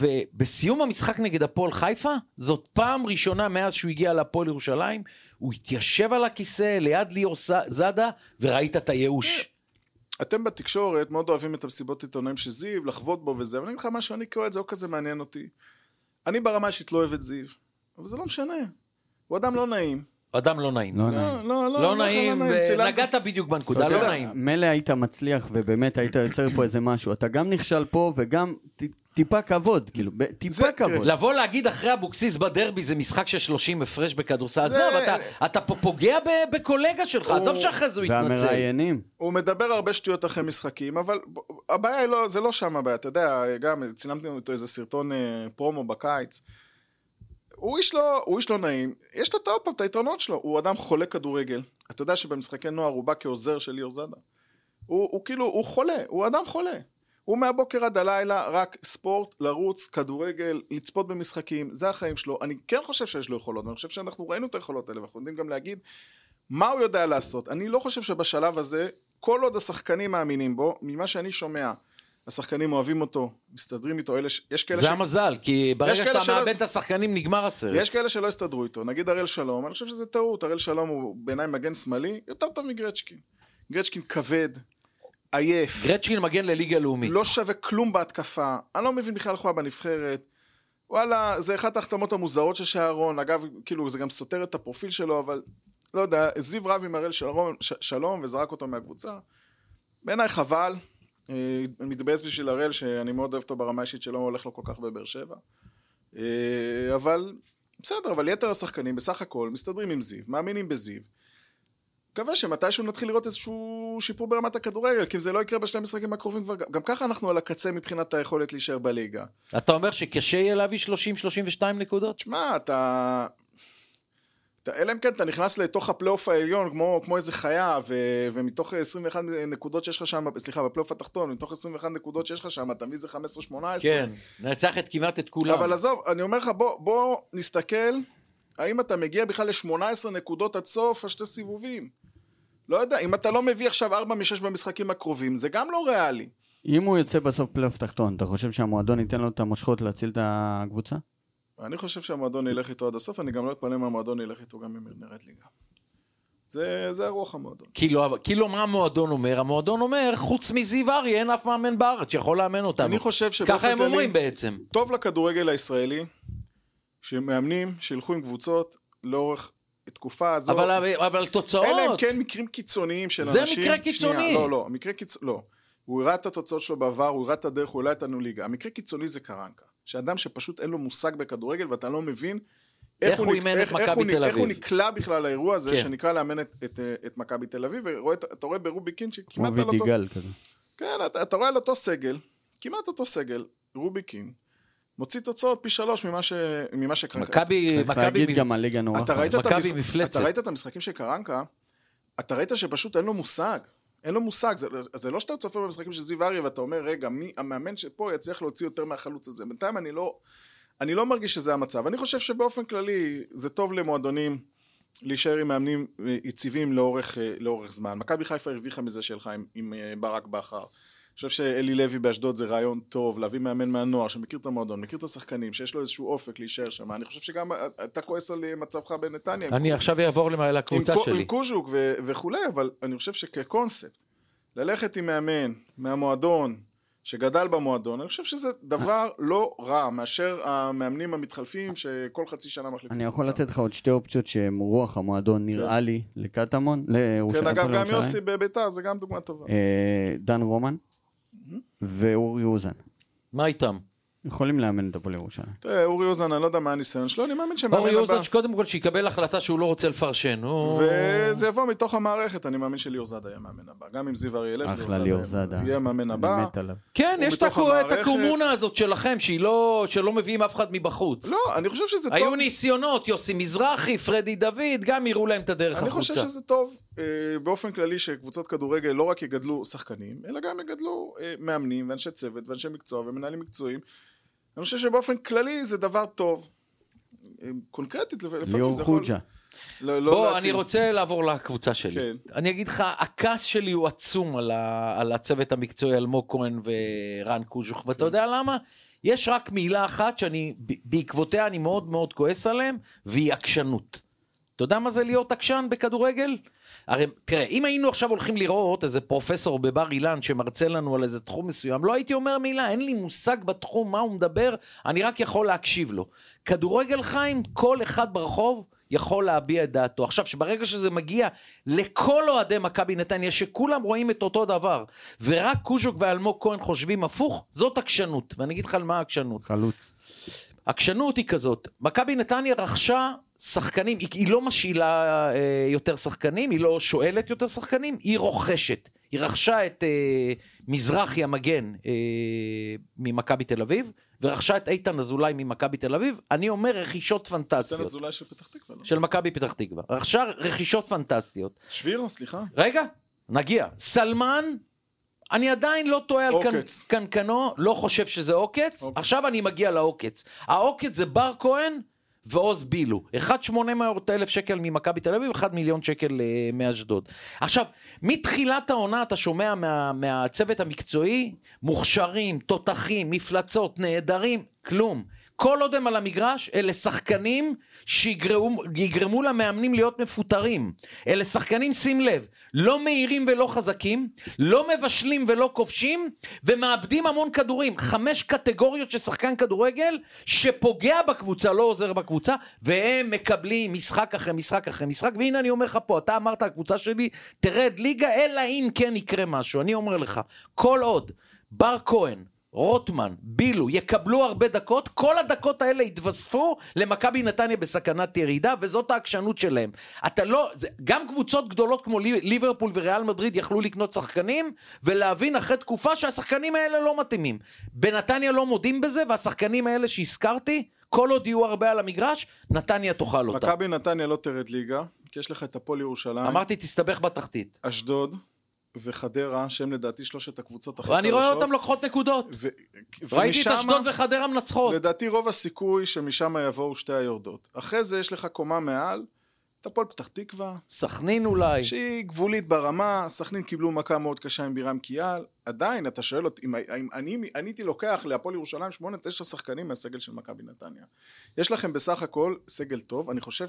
ובסיום המשחק נגד הפועל חיפה, זאת פעם ראשונה מאז שהוא הגיע להפועל ירושלים, הוא התיישב על הכיסא ליד ליאור ס- זאדה, וראית את הייאוש.
אתם בתקשורת מאוד אוהבים את המסיבות עיתונאים של זיו, לחבוט בו וזה, אבל אני אגיד לך משהו, אני קורא את זה, לא כזה מעניין אותי. אני ברמה האישית לא אוהב את זיו, אבל זה לא משנה. הוא אדם לא נעים,
אדם לא נעים.
לא נעים.
לא, לא, לא,
לא נעים,
ו...
נגעת בדיוק
אתה
בנקודה,
יודע,
לא נעים.
מילא היית מצליח ובאמת היית יוצר פה איזה משהו, אתה גם נכשל פה וגם ט- טיפה כבוד, כאילו, ב- טיפה
זה-
כבוד.
לבוא להגיד אחרי אבוקסיס בדרבי זה משחק של 30 הפרש בכדורסל,
זה-
עזוב, אתה- אתה פה פוגע ב- בקולגה שלך,
הוא-
עזוב שאחרי זה הוא יתנצל.
והמראיינים,
הוא מדבר הרבה שטויות אחרי משחקים, אבל ב- הבעיה היא לא, זה לא שם הבעיה, אתה יודע, גם צילמתי אותו איזה סרטון אה, פרומו בקיץ. הוא איש, לא, הוא איש לא נעים, יש לו את עוד פעם את היתרונות שלו, הוא אדם חולה כדורגל. אתה יודע שבמשחקי נוער הוא בא כעוזר של ליאור זאדה. הוא, הוא כאילו, הוא חולה, הוא אדם חולה. הוא מהבוקר עד הלילה רק ספורט, לרוץ, כדורגל, לצפות במשחקים, זה החיים שלו. אני כן חושב שיש לו יכולות, ואני חושב שאנחנו ראינו את היכולות האלה, ואנחנו יודעים גם להגיד מה הוא יודע לעשות. אני לא חושב שבשלב הזה, כל עוד השחקנים מאמינים בו, ממה שאני שומע, השחקנים אוהבים אותו, מסתדרים איתו, אלה ש... יש כאלה
זה המזל, כי ברגע
יש כאלה
שאתה
שלא-
מאבד את השחקנים נגמר הסרט.
יש כאלה שלא הסתדרו איתו, נגיד הראל שלום, אני חושב שזה טעות, הראל שלום הוא בעיניי מגן שמאלי, יותר טוב מגרצ'קין. גרצ'קין כבד, עייף,
גרצ'קין מגן לליגה לאומית.
לא שווה כלום בהתקפה, אני לא מבין בכלל איך הוא היה בנבחרת. וואלה, זה אחת ההחתמות המוזרות של שרון, אגב, כאילו זה גם סותר את הפרופיל שלו, אבל לא יודע, זיו רב עם הראל שלום, ש- שלום וזרק אותו מהקבוצה. בעיניי חבל, אה, אני מתבאס בשביל הראל שאני מאוד אוהב אותו ברמה האישית שלא הולך לו כל כך בבאר שבע. אה, אבל בסדר, אבל יתר השחקנים בסך הכל מסתדרים עם זיו, מאמינים בזיו. מקווה שמתישהו נתחיל לראות איזשהו שיפור ברמת הכדורגל, כי אם זה לא יקרה בשני המשחקים הקרובים כבר, גם ככה אנחנו על הקצה מבחינת היכולת להישאר בליגה.
אתה אומר שקשה יהיה להביא 30-32 נקודות?
תשמע, אתה... אתה... אלא אם כן אתה נכנס לתוך הפלייאוף העליון כמו, כמו איזה חיה, ו... ומתוך 21 נקודות שיש לך שם, סליחה, בפלייאוף התחתון, מתוך 21 נקודות שיש לך שם, אתה מביא איזה 15-18.
כן, ננצח את כמעט את כולם.
אבל עזוב, אני אומר לך, בוא, בוא נסתכל, האם אתה מגיע בכלל ל-18 נקודות עד סוף השתי סיבובים? לא יודע, אם אתה לא מביא עכשיו 4 מ-6 במשחקים הקרובים, זה גם לא ריאלי.
אם הוא יוצא בסוף פלייאוף תחתון, אתה חושב שהמועדון ייתן לו את המושכות להציל את הקבוצה?
אני חושב שהמועדון ילך איתו עד הסוף, אני גם לא אתפלא אם המועדון ילך איתו גם אם נרד ליגה. זה, זה הרוח המועדון.
כאילו, אבל- כאילו מה המועדון אומר? המועדון אומר, חוץ מזיו אריה אין אף מאמן בארץ שיכול לאמן אותנו.
אני חושב שבאופן
ככה הם אומרים בעצם.
טוב לכדורגל הישראלי, שמאמנים, שילכו עם קבוצות לאורך התקופה הזו.
אבל, אבל תוצאות...
אלא אם כן מקרים קיצוניים של
זה
אנשים.
מקרה קיצוני.
שנייה, לא, לא, מקרה קיצוני, לא. הוא הראה את התוצאות שלו בעבר, הוא הראה את הדרך, הוא העלה איתנו ליגה. המקרה קיצוני זה קרנקה. שאדם שפשוט אין לו מושג בכדורגל ואתה לא מבין
איך הוא אימן את
איך- איך
מכבי
הוא נ-
תל
איך הוא
אביב.
נקלע בכלל לאירוע הזה
כן.
שנקרא לאמן את, את, אה, את מכבי תל אביב, ואתה רואה ברובי קין
כמו
שכמעט על אותו...
וידיגל כזה.
כן, אתה, אתה רואה על אותו סגל, כמעט אותו סגל, רובי קין, מוציא תוצאות פי שלוש ממה, ש, ממה שקרנקה.
מכבי...
צריך
מכבי...
להגיד גם הליגה נורא
אתה ראית, את
מכבי
המשחק-
מפלצת.
אתה ראית את המשחקים של קרנקה, אתה ראית שפשוט אין לו מושג. אין לו מושג, זה, זה לא שאתה צופה במשחקים של זיו אריה ואתה אומר, רגע, מי המאמן שפה יצליח להוציא יותר מהחלוץ הזה? בינתיים אני לא, אני לא מרגיש שזה המצב. אני חושב שבאופן כללי זה טוב למועדונים להישאר עם מאמנים אה, יציבים לאורך, אה, לאורך זמן. מכבי חיפה הרוויחה מזה שלך עם, עם אה, ברק בכר. אני חושב שאלי לוי באשדוד זה רעיון טוב, להביא מאמן מהנוער שמכיר את המועדון, מכיר את השחקנים, שיש לו איזשהו אופק להישאר שם. אני חושב שגם אה, אתה כועס על אה, מצבך בנתניה.
אני עכשיו אעבור למעלה לקבוצה
עם, קו-
שלי.
עם קוז'וק ו- וכולי, אבל אני חושב שכקונספט, ללכת עם מאמן מהמועדון, שגדל במועדון, אני חושב שזה
אה.
דבר לא רע מאשר המאמנים המתחלפים שכל חצי שנה מחליפים.
אני יכול
קבוצה.
לתת לך עוד שתי אופציות שהן רוח המועדון נראה לי לקטמון, לירושלים.
כן, אגב, גם
לירושלים.
יוסי בביתר זה גם דוגמה טובה.
אה, דן רומן ואורי אוזן.
מה איתם?
יכולים לאמן את הפועל ירושלים.
תראה, אורי אוזן, אני לא יודע מה הניסיון שלו, אני מאמין
אורי
שמאמן הבא.
יוזן, קודם כל שיקבל החלטה שהוא לא רוצה לפרשן. הוא-
וזה יבוא מתוך המערכת, אני מאמין שליאור זאדה יהיה המאמן הבא. גם אם זיו אריה ילך,
אחלה ליאור זאדה.
יהיה המאמן
אני
הבא.
מת עליו.
כן,
הוא
יש את
בתוך
הקו- את
המערכת.
הקומונה הזאת שלכם, שהיא לא... שלא מביאים אף אחד מבחוץ.
לא, אני חושב שזה טוב.
היו ניסיונות, יוסי מזרחי, פרדי דוד, גם הראו להם את הדרך
אני חושב
החוצה.
שזה טוב אה, באופן כללי שקבוצות כדורגל לא רק יגדלו שחקנים, אלא גם יגדלו אה, מאמנים ואנשי צוות ואנשי מקצוע ומנהלים מקצועיים. אני חושב שבאופן כללי זה דבר טוב. אה, קונקרטית לפ- לפעמים
ליאור
זה יכול...
חוג'ה.
לא, לא
בוא,
להתאים.
אני רוצה לעבור לקבוצה שלי.
כן.
אני אגיד לך, הכעס שלי הוא עצום על, ה... על הצוות המקצועי, אלמוג כהן ורן קוז'וך,
כן.
ואתה יודע למה? יש רק מילה אחת שאני, ב- בעקבותיה אני מאוד מאוד כועס עליהם, והיא עקשנות. אתה יודע מה זה להיות עקשן בכדורגל? הרי תראה, אם היינו עכשיו הולכים לראות איזה פרופסור בבר אילן שמרצה לנו על איזה תחום מסוים, לא הייתי אומר מילה, אין לי מושג בתחום מה הוא מדבר, אני רק יכול להקשיב לו. כדורגל חיים, כל אחד ברחוב יכול להביע את דעתו. עכשיו, שברגע שזה מגיע לכל אוהדי מכבי נתניה, שכולם רואים את אותו דבר, ורק קוז'וק ואלמוג כהן חושבים הפוך, זאת עקשנות. ואני אגיד לך על מה העקשנות.
חלוץ.
העקשנות היא כזאת, מכבי נתניה רכשה שחקנים, היא, היא לא משאילה אה, יותר שחקנים, היא לא שואלת יותר שחקנים, היא רוכשת. היא רכשה את אה, מזרחי המגן אה, ממכבי תל אביב, ורכשה את איתן אזולאי ממכבי תל אביב. אני אומר רכישות
נתן
פנטסטיות.
אזולאי של פתח תקווה, לא?
של מכבי פתח תקווה. רכשה רכישות פנטסטיות.
שבירו, סליחה.
רגע, נגיע. סלמן, אני עדיין לא טועה על קנ...
עוקץ.
קנקנו, לא חושב שזה עוקץ.
עוקץ.
עכשיו אני מגיע לעוקץ. העוקץ זה בר כהן ועוז בילו. אחד 800 אלף שקל ממכבי תל אביב, אחד מיליון שקל אה, מאשדוד. עכשיו, מתחילת העונה אתה שומע מה, מהצוות המקצועי, מוכשרים, תותחים, מפלצות, נהדרים, כלום. כל עוד הם על המגרש, אלה שחקנים שיגרמו יגרמו למאמנים להיות מפוטרים. אלה שחקנים, שים לב, לא מהירים ולא חזקים, לא מבשלים ולא כובשים, ומאבדים המון כדורים. חמש קטגוריות של שחקן כדורגל שפוגע בקבוצה, לא עוזר בקבוצה, והם מקבלים משחק אחרי משחק אחרי משחק. והנה אני אומר לך פה, אתה אמרת, הקבוצה שלי תרד ליגה, אלא אם כן יקרה משהו. אני אומר לך, כל עוד בר כהן, רוטמן, בילו, יקבלו הרבה דקות, כל הדקות האלה יתווספו למכבי נתניה בסכנת ירידה, וזאת העקשנות שלהם. אתה לא, זה, גם קבוצות גדולות כמו לי- ליברפול וריאל מדריד יכלו לקנות שחקנים, ולהבין אחרי תקופה שהשחקנים האלה לא מתאימים. בנתניה לא מודים בזה, והשחקנים האלה שהזכרתי, כל עוד יהיו הרבה על המגרש, נתניה תאכל אותה.
מכבי נתניה לא תרד ליגה, כי יש לך את הפועל ירושלים,
אמרתי, תסתבך בתחתית.
אשדוד וחדרה, שהם לדעתי שלושת הקבוצות הכי
ואני רואה אותם
חלשות.
לוקחות נקודות.
ו-
ראיתי את
ומשמה-
אשדוד וחדרה מנצחות.
לדעתי רוב הסיכוי שמשם יבואו שתי היורדות. אחרי זה יש לך קומה מעל, את הפועל פתח תקווה,
אוקיי. סכנין אולי.
שהיא גבולית ברמה, סכנין קיבלו מכה מאוד קשה עם בירם קיאל, עדיין אתה שואל אותי, אם, אם אני, אני הייתי לוקח להפועל ירושלים 8-9 שחקנים מהסגל של מכבי נתניה. יש לכם בסך הכל סגל טוב, אני חושב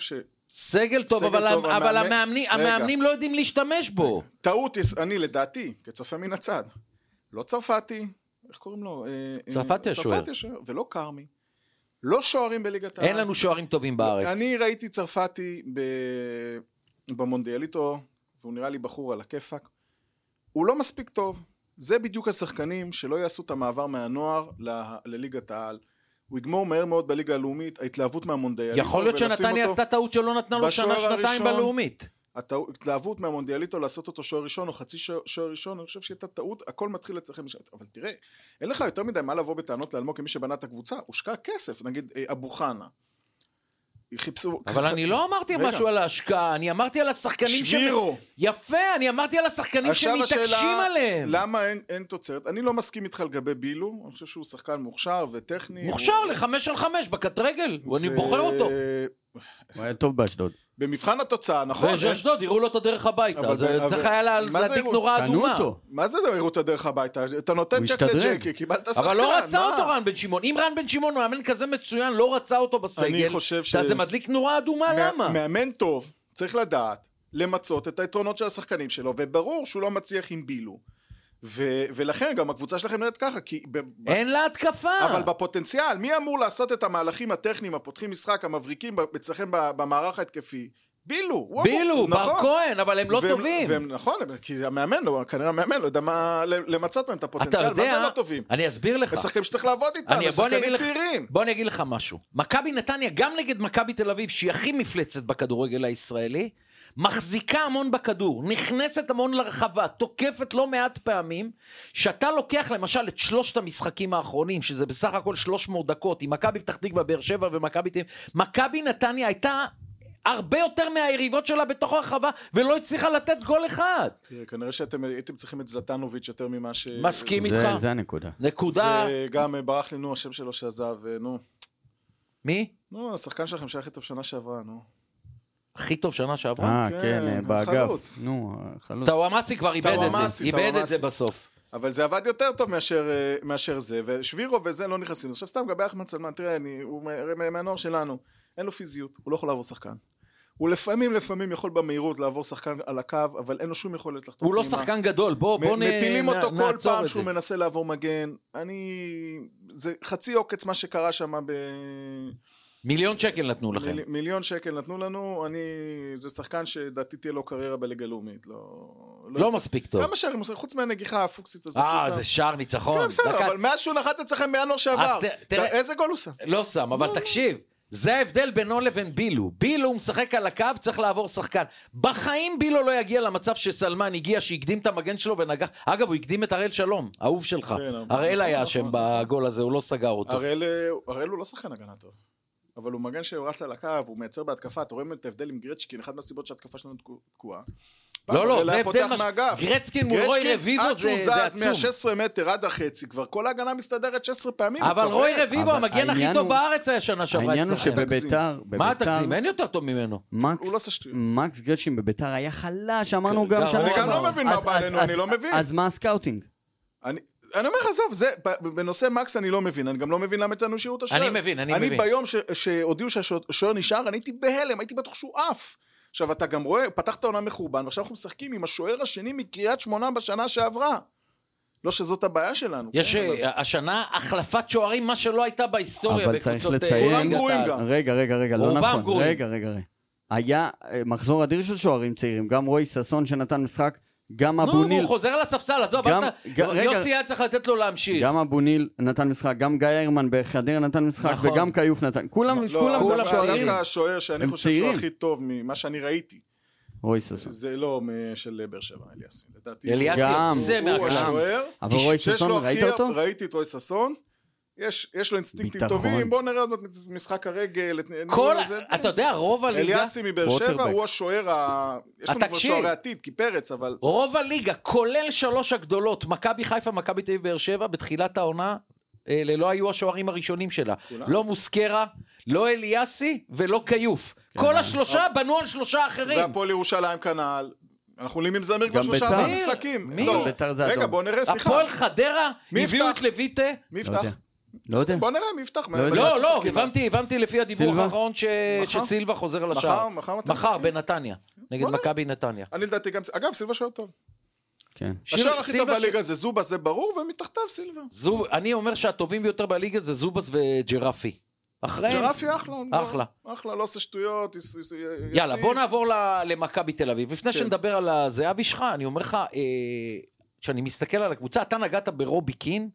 סגל טוב,
סגל
אבל,
טוב,
המ... אבל
המאמן-
המאמנים,
רגע.
המאמנים לא יודעים להשתמש בו.
שטעות, יש- אני לדעתי, כצופה מן הצד, לא צרפתי, איך קוראים לו? אה, אה,
צרפתי השוער.
צרפתי השוער, ולא כרמי. לא שוערים בליגת העל.
אין לנו שוערים טובים בארץ.
לא, אני ראיתי צרפתי ב... במונדיאליטו, והוא נראה לי בחור על הכיפאק. הוא לא מספיק טוב. זה בדיוק השחקנים שלא יעשו את המעבר מהנוער ל... לליגת העל. הוא יגמור מהר מאוד בליגה הלאומית, ההתלהבות מהמונדיאליטו.
יכול להיות
ולשים
שנתניה
אותו-
עשתה טעות שלא נתנה לו
בשוער
שנה, שנתיים
הראשון.
בלאומית.
הטעו- התלהבות מהמונדיאליטו לעשות אותו שוער ראשון או חצי שוער- שוער ראשון, אני חושב שהייתה טעות, הכל מתחיל אצלכם משם. אבל תראה, אין לך יותר מדי מה לבוא בטענות לאלמוג כמי שבנה את הקבוצה, הושקע כסף, נגיד אה, אבו חנה. חיפשו...
אבל אני לא אמרתי
רגע.
משהו על ההשקעה, אני אמרתי על השחקנים ש...
שבירו.
יפה, אני אמרתי על השחקנים שמתעקשים עליהם.
למה אין, אין תוצרת? אני לא מסכים איתך לגבי בילו, אני חושב שהוא שחקן מוכשר וטכני.
מוכשר לחמש על חמש בקט רגל,
הוא-
אני בוחר אותו.
הוא היה טוב באשדוד.
במבחן התוצאה, נכון? אין-
ואשדוד, יראו לו את הדרך הביתה,
אבל-
זה
אבל-
צריך היה לה-
מה זה
להדליק
יראו?
נורה
קנו
אדומה.
אותו.
מה זה הראו את הדרך הביתה? אתה
הוא
נותן צ'ק
השתדרג.
לג'קי, קיבלת שחקן.
אבל לא רצה
מה?
אותו רן בן שמעון. אם רן בן שמעון הוא מאמן כזה מצוין, לא רצה אותו בסגל,
אני חושב ש-
אז זה מדליק נורה אדומה,
מה-
למה?
מאמן טוב צריך לדעת למצות את היתרונות של השחקנים שלו, וברור שהוא לא מצליח עם בילו. ו- ולכן גם הקבוצה שלכם נראית ככה, כי... ב- ב-
אין לה התקפה.
אבל בפוטנציאל, מי אמור לעשות את המהלכים הטכניים, הפותחים משחק, המבריקים ב- אצלכם ב- במערך ההתקפי? בילו. הוא
בילו,
אמור-
בר
נכון.
כהן, אבל הם לא
והם-
טובים.
והם, נכון, הם- כי זה המאמן, לא, כנראה המאמן לא יודע מה למצות מהם את
אתה
הפוטנציאל, מה
יודע,
זה לא טובים?
אני אסביר לך.
הם שחקנים שצריך לעבוד איתם,
אני-
הם
בוא אני אגיד
שחקנים
לך-
צעירים.
בוא אני אגיד לך משהו. מכבי נתניה, גם נגד מכבי תל אביב, שהיא הכי מפלצת בכדורגל הישראלי, מחזיקה המון בכדור, נכנסת המון לרחבה, תוקפת לא מעט פעמים, שאתה לוקח למשל את שלושת המשחקים האחרונים, שזה בסך הכל 300 דקות, עם מכבי פתח תקווה, באר שבע ומכבי תל אביב, מכבי נתניה הייתה הרבה יותר מהיריבות שלה בתוך הרחבה, ולא הצליחה לתת גול אחד.
תראה, כנראה שאתם הייתם צריכים את זלטנוביץ' יותר ממה ש...
מסכים
זה-
איתך.
זה הנקודה.
נקודה.
וגם אה, ברח לי, נו, השם שלו שעזב, אה, נו.
מי?
נו, השחקן שלכם שהיה הכי טוב שנה שעברה, נו.
הכי טוב שנה שעברה.
אה,
כן,
כן, אה, באגף.
החלוץ.
נו, החלוץ.
טאוואמאסי כבר איבד את זה,
טאוואמאסי,
איבד את זה
טאוואמאסי.
בסוף.
אבל זה עבד יותר טוב מאשר, אה, מאשר זה, ושבירו וזה לא נכנסים. עכשיו סתם לגבי אחמד סלמן, תראה, אני, הוא מה- מה- מהנוער שלנו, אין לו פיזיות, הוא לא יכול לעבור שחקן. הוא לפעמים, לפעמים יכול במהירות לעבור שחקן על הקו, אבל אין לו שום יכולת לחתום
הוא לא שחקן גדול, בוא בוא
מ-
נ-
מפילים
נ-
אותו כל
נעצור
פעם
את זה.
שהוא מנסה לעבור מגן. אני... זה חצי עוקץ מה שקרה שם ב...
מיליון שקל נתנו לכם.
מיל, מיליון שקל נתנו לנו, אני... זה שחקן שדעתי תהיה לו קריירה בליגה לאומית, לא...
לא מספיק טוב.
כמה שערים הוא עושה, חוץ מהנגיחה הפוקסית הזאת
אה,
שהוא
זה
שם.
שער ניצחון.
כן, בסדר,
דקה-
אבל מאז שהוא נחת אצלכם בינואר
אז
שעבר,
ת-
אתה-
תראה-
איזה גול הוא שם?
לא שם, אבל תקשיב, זה ההבדל בינו לבין בילו. בילו הוא משחק על הקו, צריך לעבור שחקן. בחיים בילו לא יגיע למצב שסלמן הגיע, שהקדים את המגן שלו ונגח... אגב, הוא הקדים את הראל שלום, אהוב שלך.
כן, אבל-
הראל היה
נכון,
אשם
נכון.
בגול הזה, הוא לא סגר אותו.
הראל הראל הוא לא שחקן הגנה טוב. אבל הוא מגן שרץ על הקו, הוא מייצר בהתקפה, אתה רואה את ההבדל עם גרצ'קין, אחת מהסיבות שההתקפה שלנו תקוע- תקועה. פעם
לא, לא,
הראל
זה
היה
הבדל...
פותח
מש-
מהאגף.
גרצקין מול רוי
גרצ'קין,
רביבו זה זה
עד שהוא זז
עצום.
מה-16 מטר עד החצי, כבר כל ההגנה מסתדרת 16 פעמים.
אבל
הוא
רוי
כבד.
רביבו,
אבל
המגן הכי
העניין
טוב
הוא-
בארץ היה שנה שעברה
העניין הוא
אצלכם.
שבביתר,
מה
בביתר,
התקציב? אין יותר טוב ממנו.
מקס,
הוא לא כן, עושה שטויות.
מקס גרשין בביתר היה חלש, אמרנו
גם,
גם
אני
שנה
גם לא
שעברה.
מבין מה
אז-
בא
אז-
עלינו, אני
אז-
לא מבין.
אז מה הסקאוטינג?
אני אני אומר לך, עזוב, זה, ב- בנושא מקס אני לא מבין, אני גם לא מבין למה אצלנו השאירו את השוער.
אני מבין, אני
אני
מבין.
ביום ש- שהודיעו שהשוער נשאר, אני הייתי בהלם, הייתי בטוח שהוא עף. עכשיו, אתה גם רואה, פתחת עונה מחורבן, ועכשיו אנחנו משחקים עם השוער השני מקריית שמונה בשנה שעברה. לא שזאת הבעיה שלנו.
יש
כן,
אה,
אבל-
השנה החלפת שוערים, מה שלא הייתה בהיסטוריה.
אבל צריך
בקבוצות, אה,
לציין-
ליגת
כולם גרועים
העל.
גם.
רגע, רגע, רגע, לא
רובם
נכון.
גרועים.
רגע, רגע, רגע. היה אה, מחזור אדיר של שוערים צעירים, גם רועי ששון שנתן משחק, גם אבו
נו,
ניל,
הוא חוזר לספסל, עזוב,
גם-
אל ת-
גם- רגע.
יוסי היה צריך לתת לו להמשיך.
גם אבו ניל נתן משחק, גם גיא הרמן בחדרה נתן משחק,
נכון.
וגם כיוף נתן, כולם,
לא,
כולם,
דווקא-
כולם צעירים.
דווקא השוער שאני
הם
חושב שהוא
צעירים.
הכי טוב ממה שאני ראיתי.
רועי ששון.
זה לא מ- של באר שבע, אליאסי. לדעתי.
אליאסי
גם.
יוצא
הוא
מהגלם.
השוער.
אבל רועי
שיש
ששון,
לו
ראית
הכי-
אותו?
ראיתי את רועי ששון. יש, יש לו אינסטינקטים
ביטחון.
טובים, בואו נראה עוד מעט את משחק הרגל. את-
כל,
זה-
אתה יודע, רוב הליגה,
אליאסי מבאר שבע
ווטרבק.
הוא השוער ה... יש לנו כבר
התקשיב.
שוערי עתיד, כי פרץ, אבל...
רוב הליגה, כולל שלוש הגדולות, מכבי חיפה, מכבי תל אביב, באר שבע, בתחילת העונה, אלה לא היו השוערים הראשונים שלה.
כולם.
לא מוסקרה, לא אליאסי ולא כיוף. כל השלושה בנו על שלושה אחרים.
כן. והפועל ירושלים כנ"ל. אנחנו עולים עם זמיר כבר
גם
שלושה
ביתר.
ארבעה משחקים.
מי?
לא.
ביתר זה
רגע,
אדום.
בואו נראה, סליחה.
הפועל חדרה,
מי
הביאו
יפתח?
את לויטה.
מי
לא
יפתח?
יודע. לא יודע.
בואו נראה מי יפתח.
לא יודע.
בטח
לא, לא,
משחקים.
הבנתי, הבנתי לפי הדיבור
סילבה?
האחרון ש-
מחר?
שסילבה חוזר לשער.
מחר, אוקיי. מחר מתי
מחר,
משחקים?
בנתניה. נגד
וואלה.
מכבי נתניה.
אני לדעתי גם... אגב, סילבה שוער טוב.
כן.
השוער הכי טוב
סילבה ש-
בליגה זה זובה, זה ברור, ומתחתיו סילבה.
זוב, אני אומר שהטובים ביותר בליגה זה זובס וג'רפי. אחריהם.
ג'רפי אחלה.
אחלה.
אחלה, לא עושה שטויות. יס- יס-
יאללה,
יציב.
בוא נעבור ל- למכבי תל אביב. לפני
כן.
שנדבר על הזהבי שלך, אני אומר לך, אה, כשאני מסתכל על הקבוצה, אתה נגעת ברובי קין.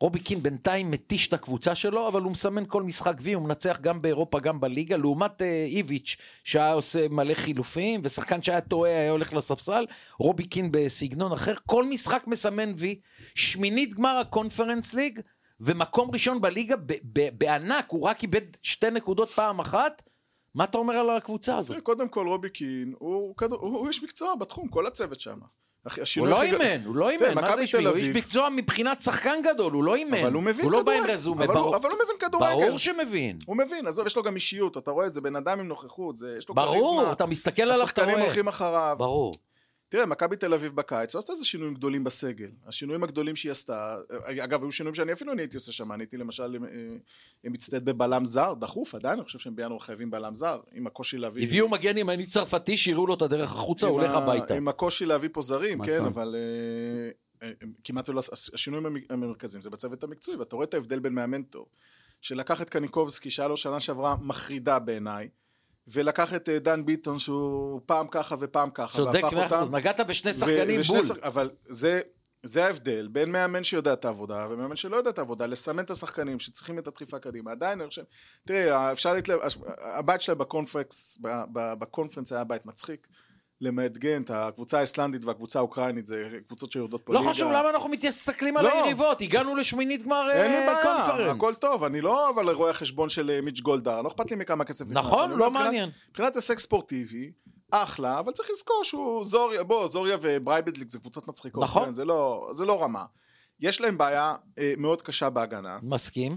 רובי קין בינתיים מתיש את הקבוצה שלו, אבל הוא מסמן כל משחק וי, הוא מנצח גם באירופה, גם בליגה, לעומת אה, איביץ', שהיה עושה מלא חילופים, ושחקן שהיה טועה היה הולך לספסל, רובי קין בסגנון אחר, כל משחק מסמן וי, שמינית גמר הקונפרנס ליג, ומקום ראשון בליגה ב- ב- בענק, הוא רק איבד שתי נקודות פעם אחת, מה אתה אומר על הקבוצה הזאת?
תראה, קודם כל רובי קין, הוא כדור- הוא הוא איש מקצוע בתחום, כל הצוות שם. הכי-
הוא
השינוי
לא
הכי גדול-
אימן, הוא לא
תראה,
אימן, מה זה
כן, מכבי
איש מקצוע?
תל
הוא איש
אביב.
מקצוע מבחינת שחקן גדול, הוא לא אימן.
אבל הוא מבין
הוא לא בא עם
כדורגל.
רזומה,
אבל הוא-
ברור-
אבל הוא מבין כדורגל.
ברור שמבין.
הוא מבין, עזוב, יש לו גם אישיות, אתה רואה את זה, בן אדם עם נוכחות, זה, יש לו
ברור,
כריזמה,
אתה מסתכל עליו, אתה
השחקנים
רואה.
הולכים אחריו.
ברור.
תראה, מכבי תל אביב בקיץ, לא עשתה איזה שינויים גדולים בסגל. השינויים הגדולים שהיא עשתה, אה, אגב, היו שינויים שאני אפילו אני הייתי עושה שם, אני הייתי למשל אה, מצטייד בבלם זר, דחוף עדיין, אני חושב שהם בינואר חייבים בלם זר, עם הקושי להביא...
הביאו מגן ימני צרפתי, שיראו לו את הדרך החוצה,
עם
הוא הולך
ה-
הביתה.
עם הקושי להביא פה זרים,
מה
כן,
זאת?
אבל אה, אה, הם כמעט ולא... הס- השינויים המ- המרכזיים זה בצוות המקצועי, ואתה רואה את ההבדל בין מאמן טוב, שלקח את קניקובסקי, שהיה לו שנה שעברה מחרידה בעיניי, ולקח את אה, דן ביטון, שהוא פעם ככה ופעם ככה,
צודק
והפך
מאה
אותם-
אחוז, נגעת בשני
ו-
שחקנים
ושני
בול.
שח- אבל זה... זה ההבדל בין מאמן שיודע את העבודה ומאמן שלא יודע את העבודה, לסמן את השחקנים שצריכים את הדחיפה קדימה. עדיין אני חושב, תראה, אפשר להתלהב, הש- הבית שלה בקונפרנס, ב- ב- בקונפרנס היה בית מצחיק, למעט גנט, הקבוצה האיסלנדית והקבוצה האוקראינית זה קבוצות שיורדות פה
לא
ליגה.
חשוב למה אנחנו מסתכלים על
לא.
היריבות, הגענו לשמינית גמר
אין לי
אה,
בעיה,
קונפרנס.
הכל טוב, אני לא אבל רואה חשבון של אה, מיץ' גולדהר, לא אכפת לי מכמה כסף נכנס,
נכון,
אבל
לא
מבחינת-
מעניין.
מבחינת הישג ספורטיבי, אחלה, אבל צריך לזכור שהוא זוריה, בוא, זוריה וברייבדליק זה קבוצות מצחיקות,
נכון.
כן, זה, לא, זה לא רמה. יש להם בעיה אה, מאוד קשה בהגנה,
מסכים.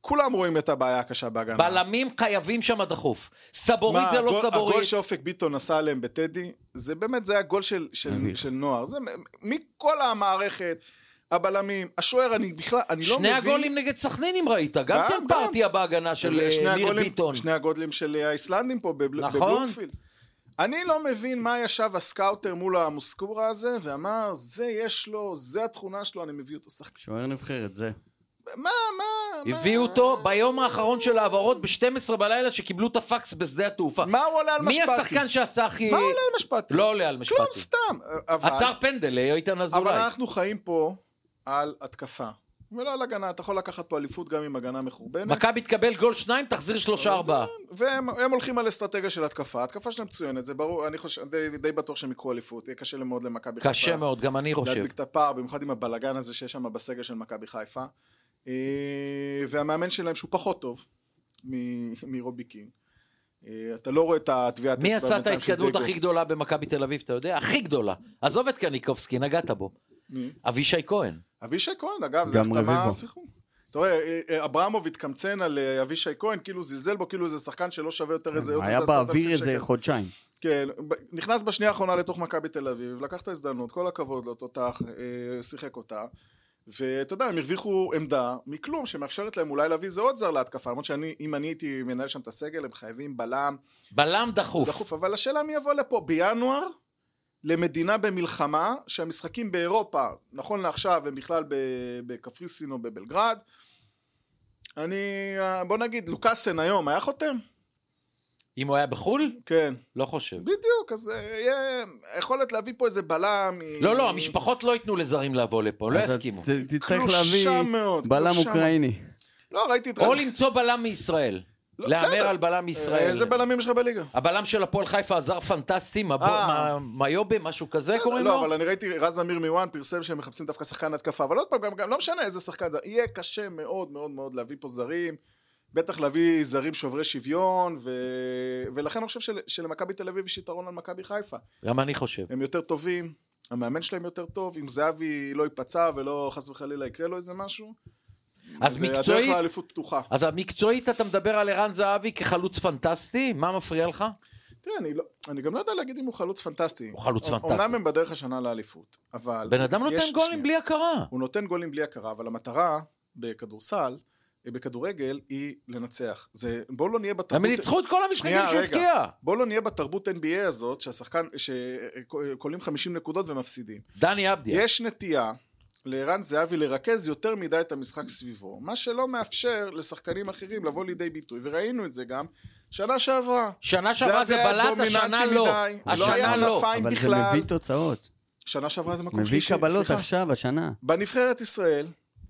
כולם רואים את הבעיה הקשה בהגנה.
בלמים חייבים שם דחוף. סבורית
כן. מה,
זה לא
הגול- הגול
סבורית.
שאופק ביטון עשה עליהם בטדי, זה באמת, זה היה גול של, של,
מביך.
של נוער. זה מ- מכל המערכת, הבלמים, השוער, אני בכלל, אני לא מבין...
שני הגולים נגד סכנין אם ראית, גם
גם,
כן
גם.
פרטיה בהגנה של אה,
שני
ניר
הגולים-
ביטון.
שני הגודלים של אה, האיסלנדים פה בבל-
נכון.
בבלומפילד. אני לא מבין מה ישב הסקאוטר מול המוסקורה הזה, ואמר, זה יש לו, זה התכונה שלו, אני מביא אותו שחקן.
שוער נבחרת, זה.
מה, מה, מה...
הביאו אותו ביום האחרון של ההעברות ב-12 בלילה שקיבלו את הפקס בשדה התעופה.
מה הוא עולה על
מי
משפטי?
השחקן שעשה הכי...
מה עולה על משפטי?
לא עולה על
כלום,
משפטי.
סתם. אבל-
עצר פנדל, אה, איתן
אבל
אזולאי.
אנחנו חיים פה על התקפה, ולא על הגנה. אתה יכול לקחת פה אליפות גם עם הגנה מחורבנת.
מכבי תקבל גול שניים, תחזיר שלושה ארבעה.
והם הם הולכים על אסטרטגיה של התקפה, ההתקפה שלהם מצוינת, זה ברור, אני חושב, די, די בטוח שהם ייקחו אליפות, יהיה קשה להם מאוד למכבי חיפה.
קשה מאוד, גם אני חושב.
להדביק את הפער, במיוחד עם הבלגן הזה שיש שם בסגל של מכבי חיפה. אה, והמאמן שלהם שהוא פחות טוב מ- מרובי קין. אה, אתה לא רואה את הטביעת
מי עשה את
בינתיים של
ההתקדמות
דגו.
הכי גדולה במכבי תל אביב, אתה יודע? הכי גדולה. עזוב את קניקובסקי, נגעת בו.
מי?
אבישי כהן.
אבישי כהן, אגב, זה
גם רביבו.
החתמה שיחום. אתה רואה, אה, אה, אברמוב התקמצן על אה, אבישי כהן, כאילו זלזל בו, כאילו איזה שחקן שלא שווה יותר איזה... עוד
כן, היה
איזה עשרת
באוויר
אלפים
איזה
שקל.
חודשיים.
כן, ב- נכנס בשנייה האחרונה לתוך מכבי תל אביב, לקח את ההזדמנות, כל הכבוד לו, תותח, אה, שיחק אותה. ואתה יודע, הם הרוויחו עמדה מכלום שמאפשרת להם אולי להביא איזה עוד זר להתקפה, למרות שאני, אם אני הייתי מנהל שם את הסגל, הם חייבים בלם
בלם דחוף.
דחוף, אבל השאלה מי יבוא לפה בינואר, למדינה במלחמה, שהמשחקים באירופה, נכון לעכשיו, הם בכלל ב- בקפריסין או בבלגרד. אני, אה, בוא נגיד, לוקאסן היום היה חותם?
אם הוא היה בחו"ל?
כן.
לא חושב.
בדיוק, אז אה, יהיה היכולת להביא פה איזה בלם. היא-
לא, לא, המשפחות לא ייתנו לזרים לבוא לפה, לא
אז
יסכימו.
ת- תצטרך
קלושה
להביא
מאוד,
בלם
קלושה
אוקראיני.
לא, ראיתי את
או
רז-
למצוא בלם מישראל.
לא,
להמר
בסדר. אה,
על בלם מישראל.
איזה בלמים יש לך בליגה?
הבלם של הפועל חיפה עזר פנטסטי, מבו-
אה.
מה- מיובי, משהו כזה
בסדר,
קוראים
לא,
לו?
אבל אני ראיתי, רז אמיר מוואן פרסם שהם מחפשים דווקא שחקן התקפה, אבל עוד פעם, גם- גם לא משנה איזה שחקן זה, יהיה קשה מאוד מאוד מאוד להביא פה זרים, בטח להביא זרים שוברי שוויון, ו... ולכן אני חושב של... שלמכבי תל אביב יש יתרון על מכבי חיפה.
גם אני חושב.
הם יותר טובים, המאמן שלהם יותר טוב, אם זהבי לא ייפצע ולא חס וחלילה יקרה לו איזה משהו,
אז
זה
מקצועית,
הדרך לאליפות פתוחה.
אז מקצועית אתה מדבר על ערן זהבי כחלוץ פנטסטי? מה מפריע לך?
תראה, אני, לא, אני גם לא יודע להגיד אם הוא חלוץ פנטסטי.
הוא חלוץ
אומ-
פנטסטי.
אומנם הם בדרך השנה לאליפות, אבל...
בן אדם נותן
יש-
גולים
שנייה.
בלי הכרה.
הוא נותן גולים בלי הכרה, אבל המטרה בכדורסל, אה, בכדורגל, היא לנצח. זה, בואו לא נהיה בתרבות...
הם ניצחו את כל המשחקים
שנייה,
שהוא
רגע.
הבקיע.
בואו לא נהיה בתרבות NBA הזאת, שהשחקן... שכוללים 50 נקודות ומפסידים.
דני עבדיה.
יש נטייה לערן זהבי לרכז יותר מדי את המשחק סביבו, מה שלא מאפשר לשחקנים אחרים לבוא לידי ביטוי, וראינו את זה גם שנה שעברה.
שנה שעברה זה
זהבי היה
בלט, השנה
דומיננטי
לא.
מדי, לא
השנה
היה
לא.
כנפיים
אבל זה
בכלל.
מביא תוצאות.
שנה שעברה זה מקום
מביא
שלישי,
קבלות
סליחה.
עכשיו, השנה.
בנבחרת ישראל,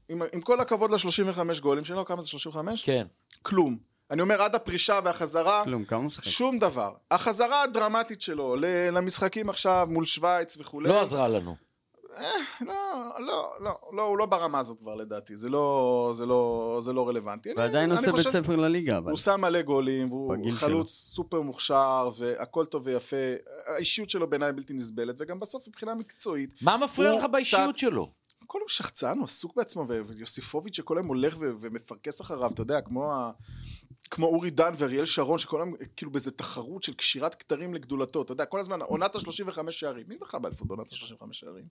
עם, עם כל הכבוד ל-35 גולים שלו, כמה זה 35?
כן.
כלום. אני אומר, עד הפרישה והחזרה,
כלום, כמה הוא לא משחק?
שום דבר. החזרה הדרמטית שלו ל- למשחקים עכשיו מול שווייץ וכולי.
לא עזרה לנו.
לא, לא, לא, לא, הוא לא ברמה הזאת כבר לדעתי, זה לא, זה לא, זה לא רלוונטי. אני-
ועדיין
אני
עושה בית
חושב-
ספר לליגה, אבל.
הוא שם מלא גולים, והוא
בגיל
חלוץ סופר מוכשר, והכל טוב ויפה. האישיות שלו בעיניי בלתי נסבלת, וגם בסוף מבחינה מקצועית,
מה מפריע
הוא
לך באישיות
קצת-
שלו?
כל יום שחצן, הוא עסוק בעצמו, ו- ויוסיפוביץ' שכל היום הולך ו- ומפרכס אחריו, אתה יודע, כמו, ה... כמו אורי דן ואריאל שרון, שכל היום אה, כאילו באיזה תחרות של קשירת כתרים לגדולתו, אתה יודע, כל הזמן, עונת ה-35 שערים. מי זכה באליפות בעונת ה-35 שערים?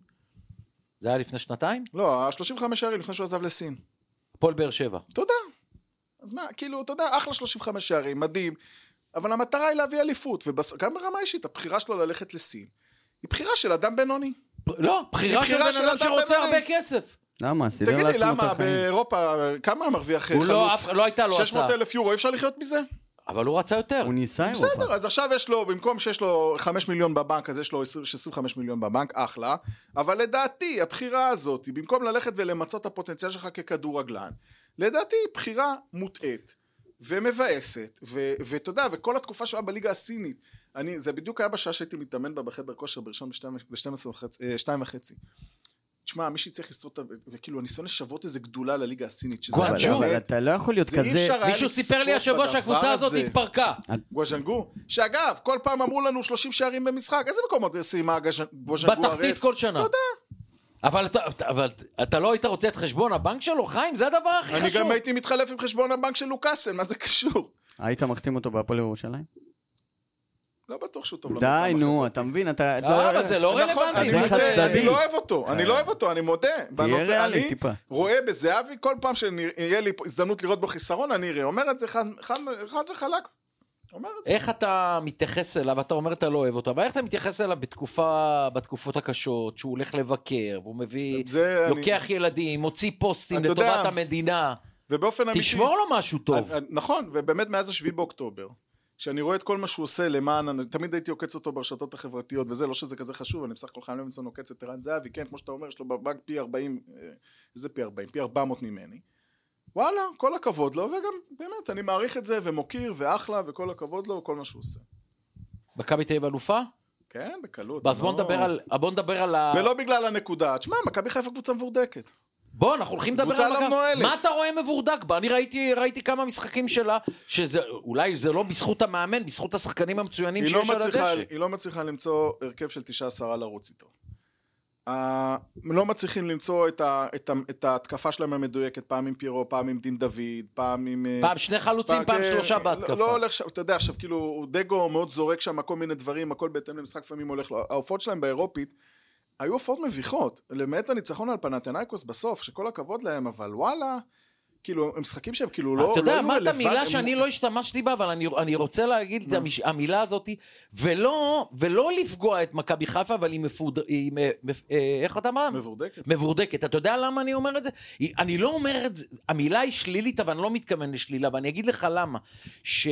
זה היה לפני שנתיים?
לא, ה-35 שערים לפני שהוא עזב לסין.
הפועל באר שבע.
תודה. אז מה, כאילו, אתה יודע, אחלה 35 שערים, מדהים, אבל המטרה היא להביא אליפות, וגם ברמה אישית, הבחירה שלו ללכת לסין, היא בחירה של אדם בינוני.
לא, בחירה של
בחירה של
בן אדם
אדם
שרוצה
בינוני.
הרבה כסף.
למה? סידר
תגיד לי,
לעצמו את
למה
החיים.
באירופה, כמה מרוויח
הוא לא,
כן, חלוץ?
אף- לא הייתה לו הצעה.
600 אלף יורו, אי אפשר לחיות מזה?
אבל הוא רצה יותר.
הוא ניסה
בסדר,
אירופה.
אז עכשיו יש לו, במקום שיש לו 5 מיליון בבנק, אז יש לו 20 25 מיליון בבנק, אחלה. אבל לדעתי, הבחירה הזאת, היא במקום ללכת ולמצות את הפוטנציאל שלך ככדורגלן, לדעתי היא בחירה מוטעית ומבאסת, ו- ואתה יודע, וכל התקופה שהוא היה בליגה הסינית, אני, זה בדיוק היה בשעה שהייתי מתאמן בה בחדר כושר בראשון ב-12 וחצי, אה, שתיים וחצי. תשמע, מי שצריך לשרוד, את ה- וכאילו, הניסיון לשוות איזה גדולה לליגה הסינית, שזה...
גואנג'ו.
אבל-
היה
אבל
באמת-
אתה לא יכול להיות
זה אי
כזה...
אפשר היה
מישהו סיפר לי
לצפות
השבוע
בדבר
שהקבוצה הזאת
הזה.
התפרקה.
גואז'נגו, שאגב, כל פעם אמרו לנו 30 שערים במשחק, איזה מקומות סיימה גואז'נ- גואז'נגו
בתחתית כל שנה.
תודה.
אבל אתה- אתה- אבל אתה לא היית רוצה את חשבון הבנק שלו? חיים, זה הדבר הכי
אני
חשוב.
גם הייתי מתחלף עם חשבון הבנק של לוקאסן, מה זה קשור?
היית מחתים אותו בהפועל ירושלים?
לא בטוח שהוא טוב.
די,
למקום
נו,
החברתי.
אתה מבין, אתה...
אה,
אתה-
אבל זה לא
נכון,
רלוונטי.
אני
זה
מה
מודה,
זה?
חד-צדדי. אה.
אני לא אוהב אותו, אני לא אוהב אותו, אני מודה. בנושא,
ריאלי
אני
טיפה.
רואה בזהבי, כל פעם שיהיה לי פה הזדמנות לראות בו חיסרון, אני אראה. אומר את זה חד חד- חד וחלק. אומר את זה.
איך אתה מתייחס אליו, אתה אומר אתה לא אוהב אותו, אבל איך אתה מתייחס אליו בתקופה, בתקופות הקשות, שהוא הולך לבקר, והוא מביא,
זה אני-
לוקח ילדים, מוציא פוסטים
אתה יודע-
לטובת המדינה,
ובאופן אמיתי...
תשמור לו משהו טוב.
אני- נכון, ובאמת מאז השביעי באוקטובר, שאני רואה את כל מה שהוא עושה למען, אני- תמיד הייתי עוקץ אותו ברשתות החברתיות וזה, לא שזה כזה חשוב, אני בסך הכל חיים לוינסון עוקץ את ערן זהבי, כן, כמו שאתה אומר, יש לו בבנק פי 40, אה, איזה פי 40? פי 400 ממני. וואלה, כל הכבוד לו, וגם באמת, אני מעריך את זה ומוקיר ואחלה, וכל הכבוד לו, כל מה שהוא עושה.
מכבי תל אביב אלופה?
כן, בקלות.
אז בוא
לא-
נדבר על, בוא נדבר על ה...
ולא בגלל הנקודה. תשמע, מכבי חיפה קבוצה מבורדקת.
בוא, אנחנו הולכים לדבר
קבוצה
על
לא
מכבי.
מנוהלת.
מה אתה רואה מבורדק בה? אני ראיתי, ראיתי כמה משחקים שלה, שזה, אולי זה לא בזכות המאמן, בזכות השחקנים המצוינים
היא
שיש
לא,
על הדשא.
מצליחה, היא לא מצליחה למצוא הרכב של תשעה עשרה לרוץ איתו. Uh, לא מצליחים למצוא את, ה, את, ה, את ההתקפה שלהם המדויקת, פעם עם פירו, פעם עם דין דוד, פעם עם... אה,
פעם שני חלוצים, פעם
כן,
שלושה
לא-
בהתקפה.
לא הולך שם, אתה יודע, עכשיו כאילו, דגו מאוד זורק שם כל מיני דברים, הכל בהתאם למשחק, לפעמים הולך לו. ההופעות שלהם באירופית היו הופעות מביכות, למעט הניצחון על פנתנאיקוס בסוף, שכל הכבוד להם, אבל וואלה, כאילו, הם משחקים שהם כאילו לא...
אתה
לא
יודע,
היו
אמרת
רלוונט-
מילה
הם-
שאני לא השתמשתי בה, אבל אני- אני רוצה להגיד את המש- המילה הזאת, ולא ולא לפגוע את מכבי חיפה, אבל היא מפוד... היא מ- מפ- אה, איך אתה אמר?
מבורדקת.
מבורדקת. אתה יודע למה אני אומר את זה? היא- אני לא אומר את זה, המילה היא שלילית, אבל אני לא מתכוון לשלילה, ואני אגיד לך למה. ש...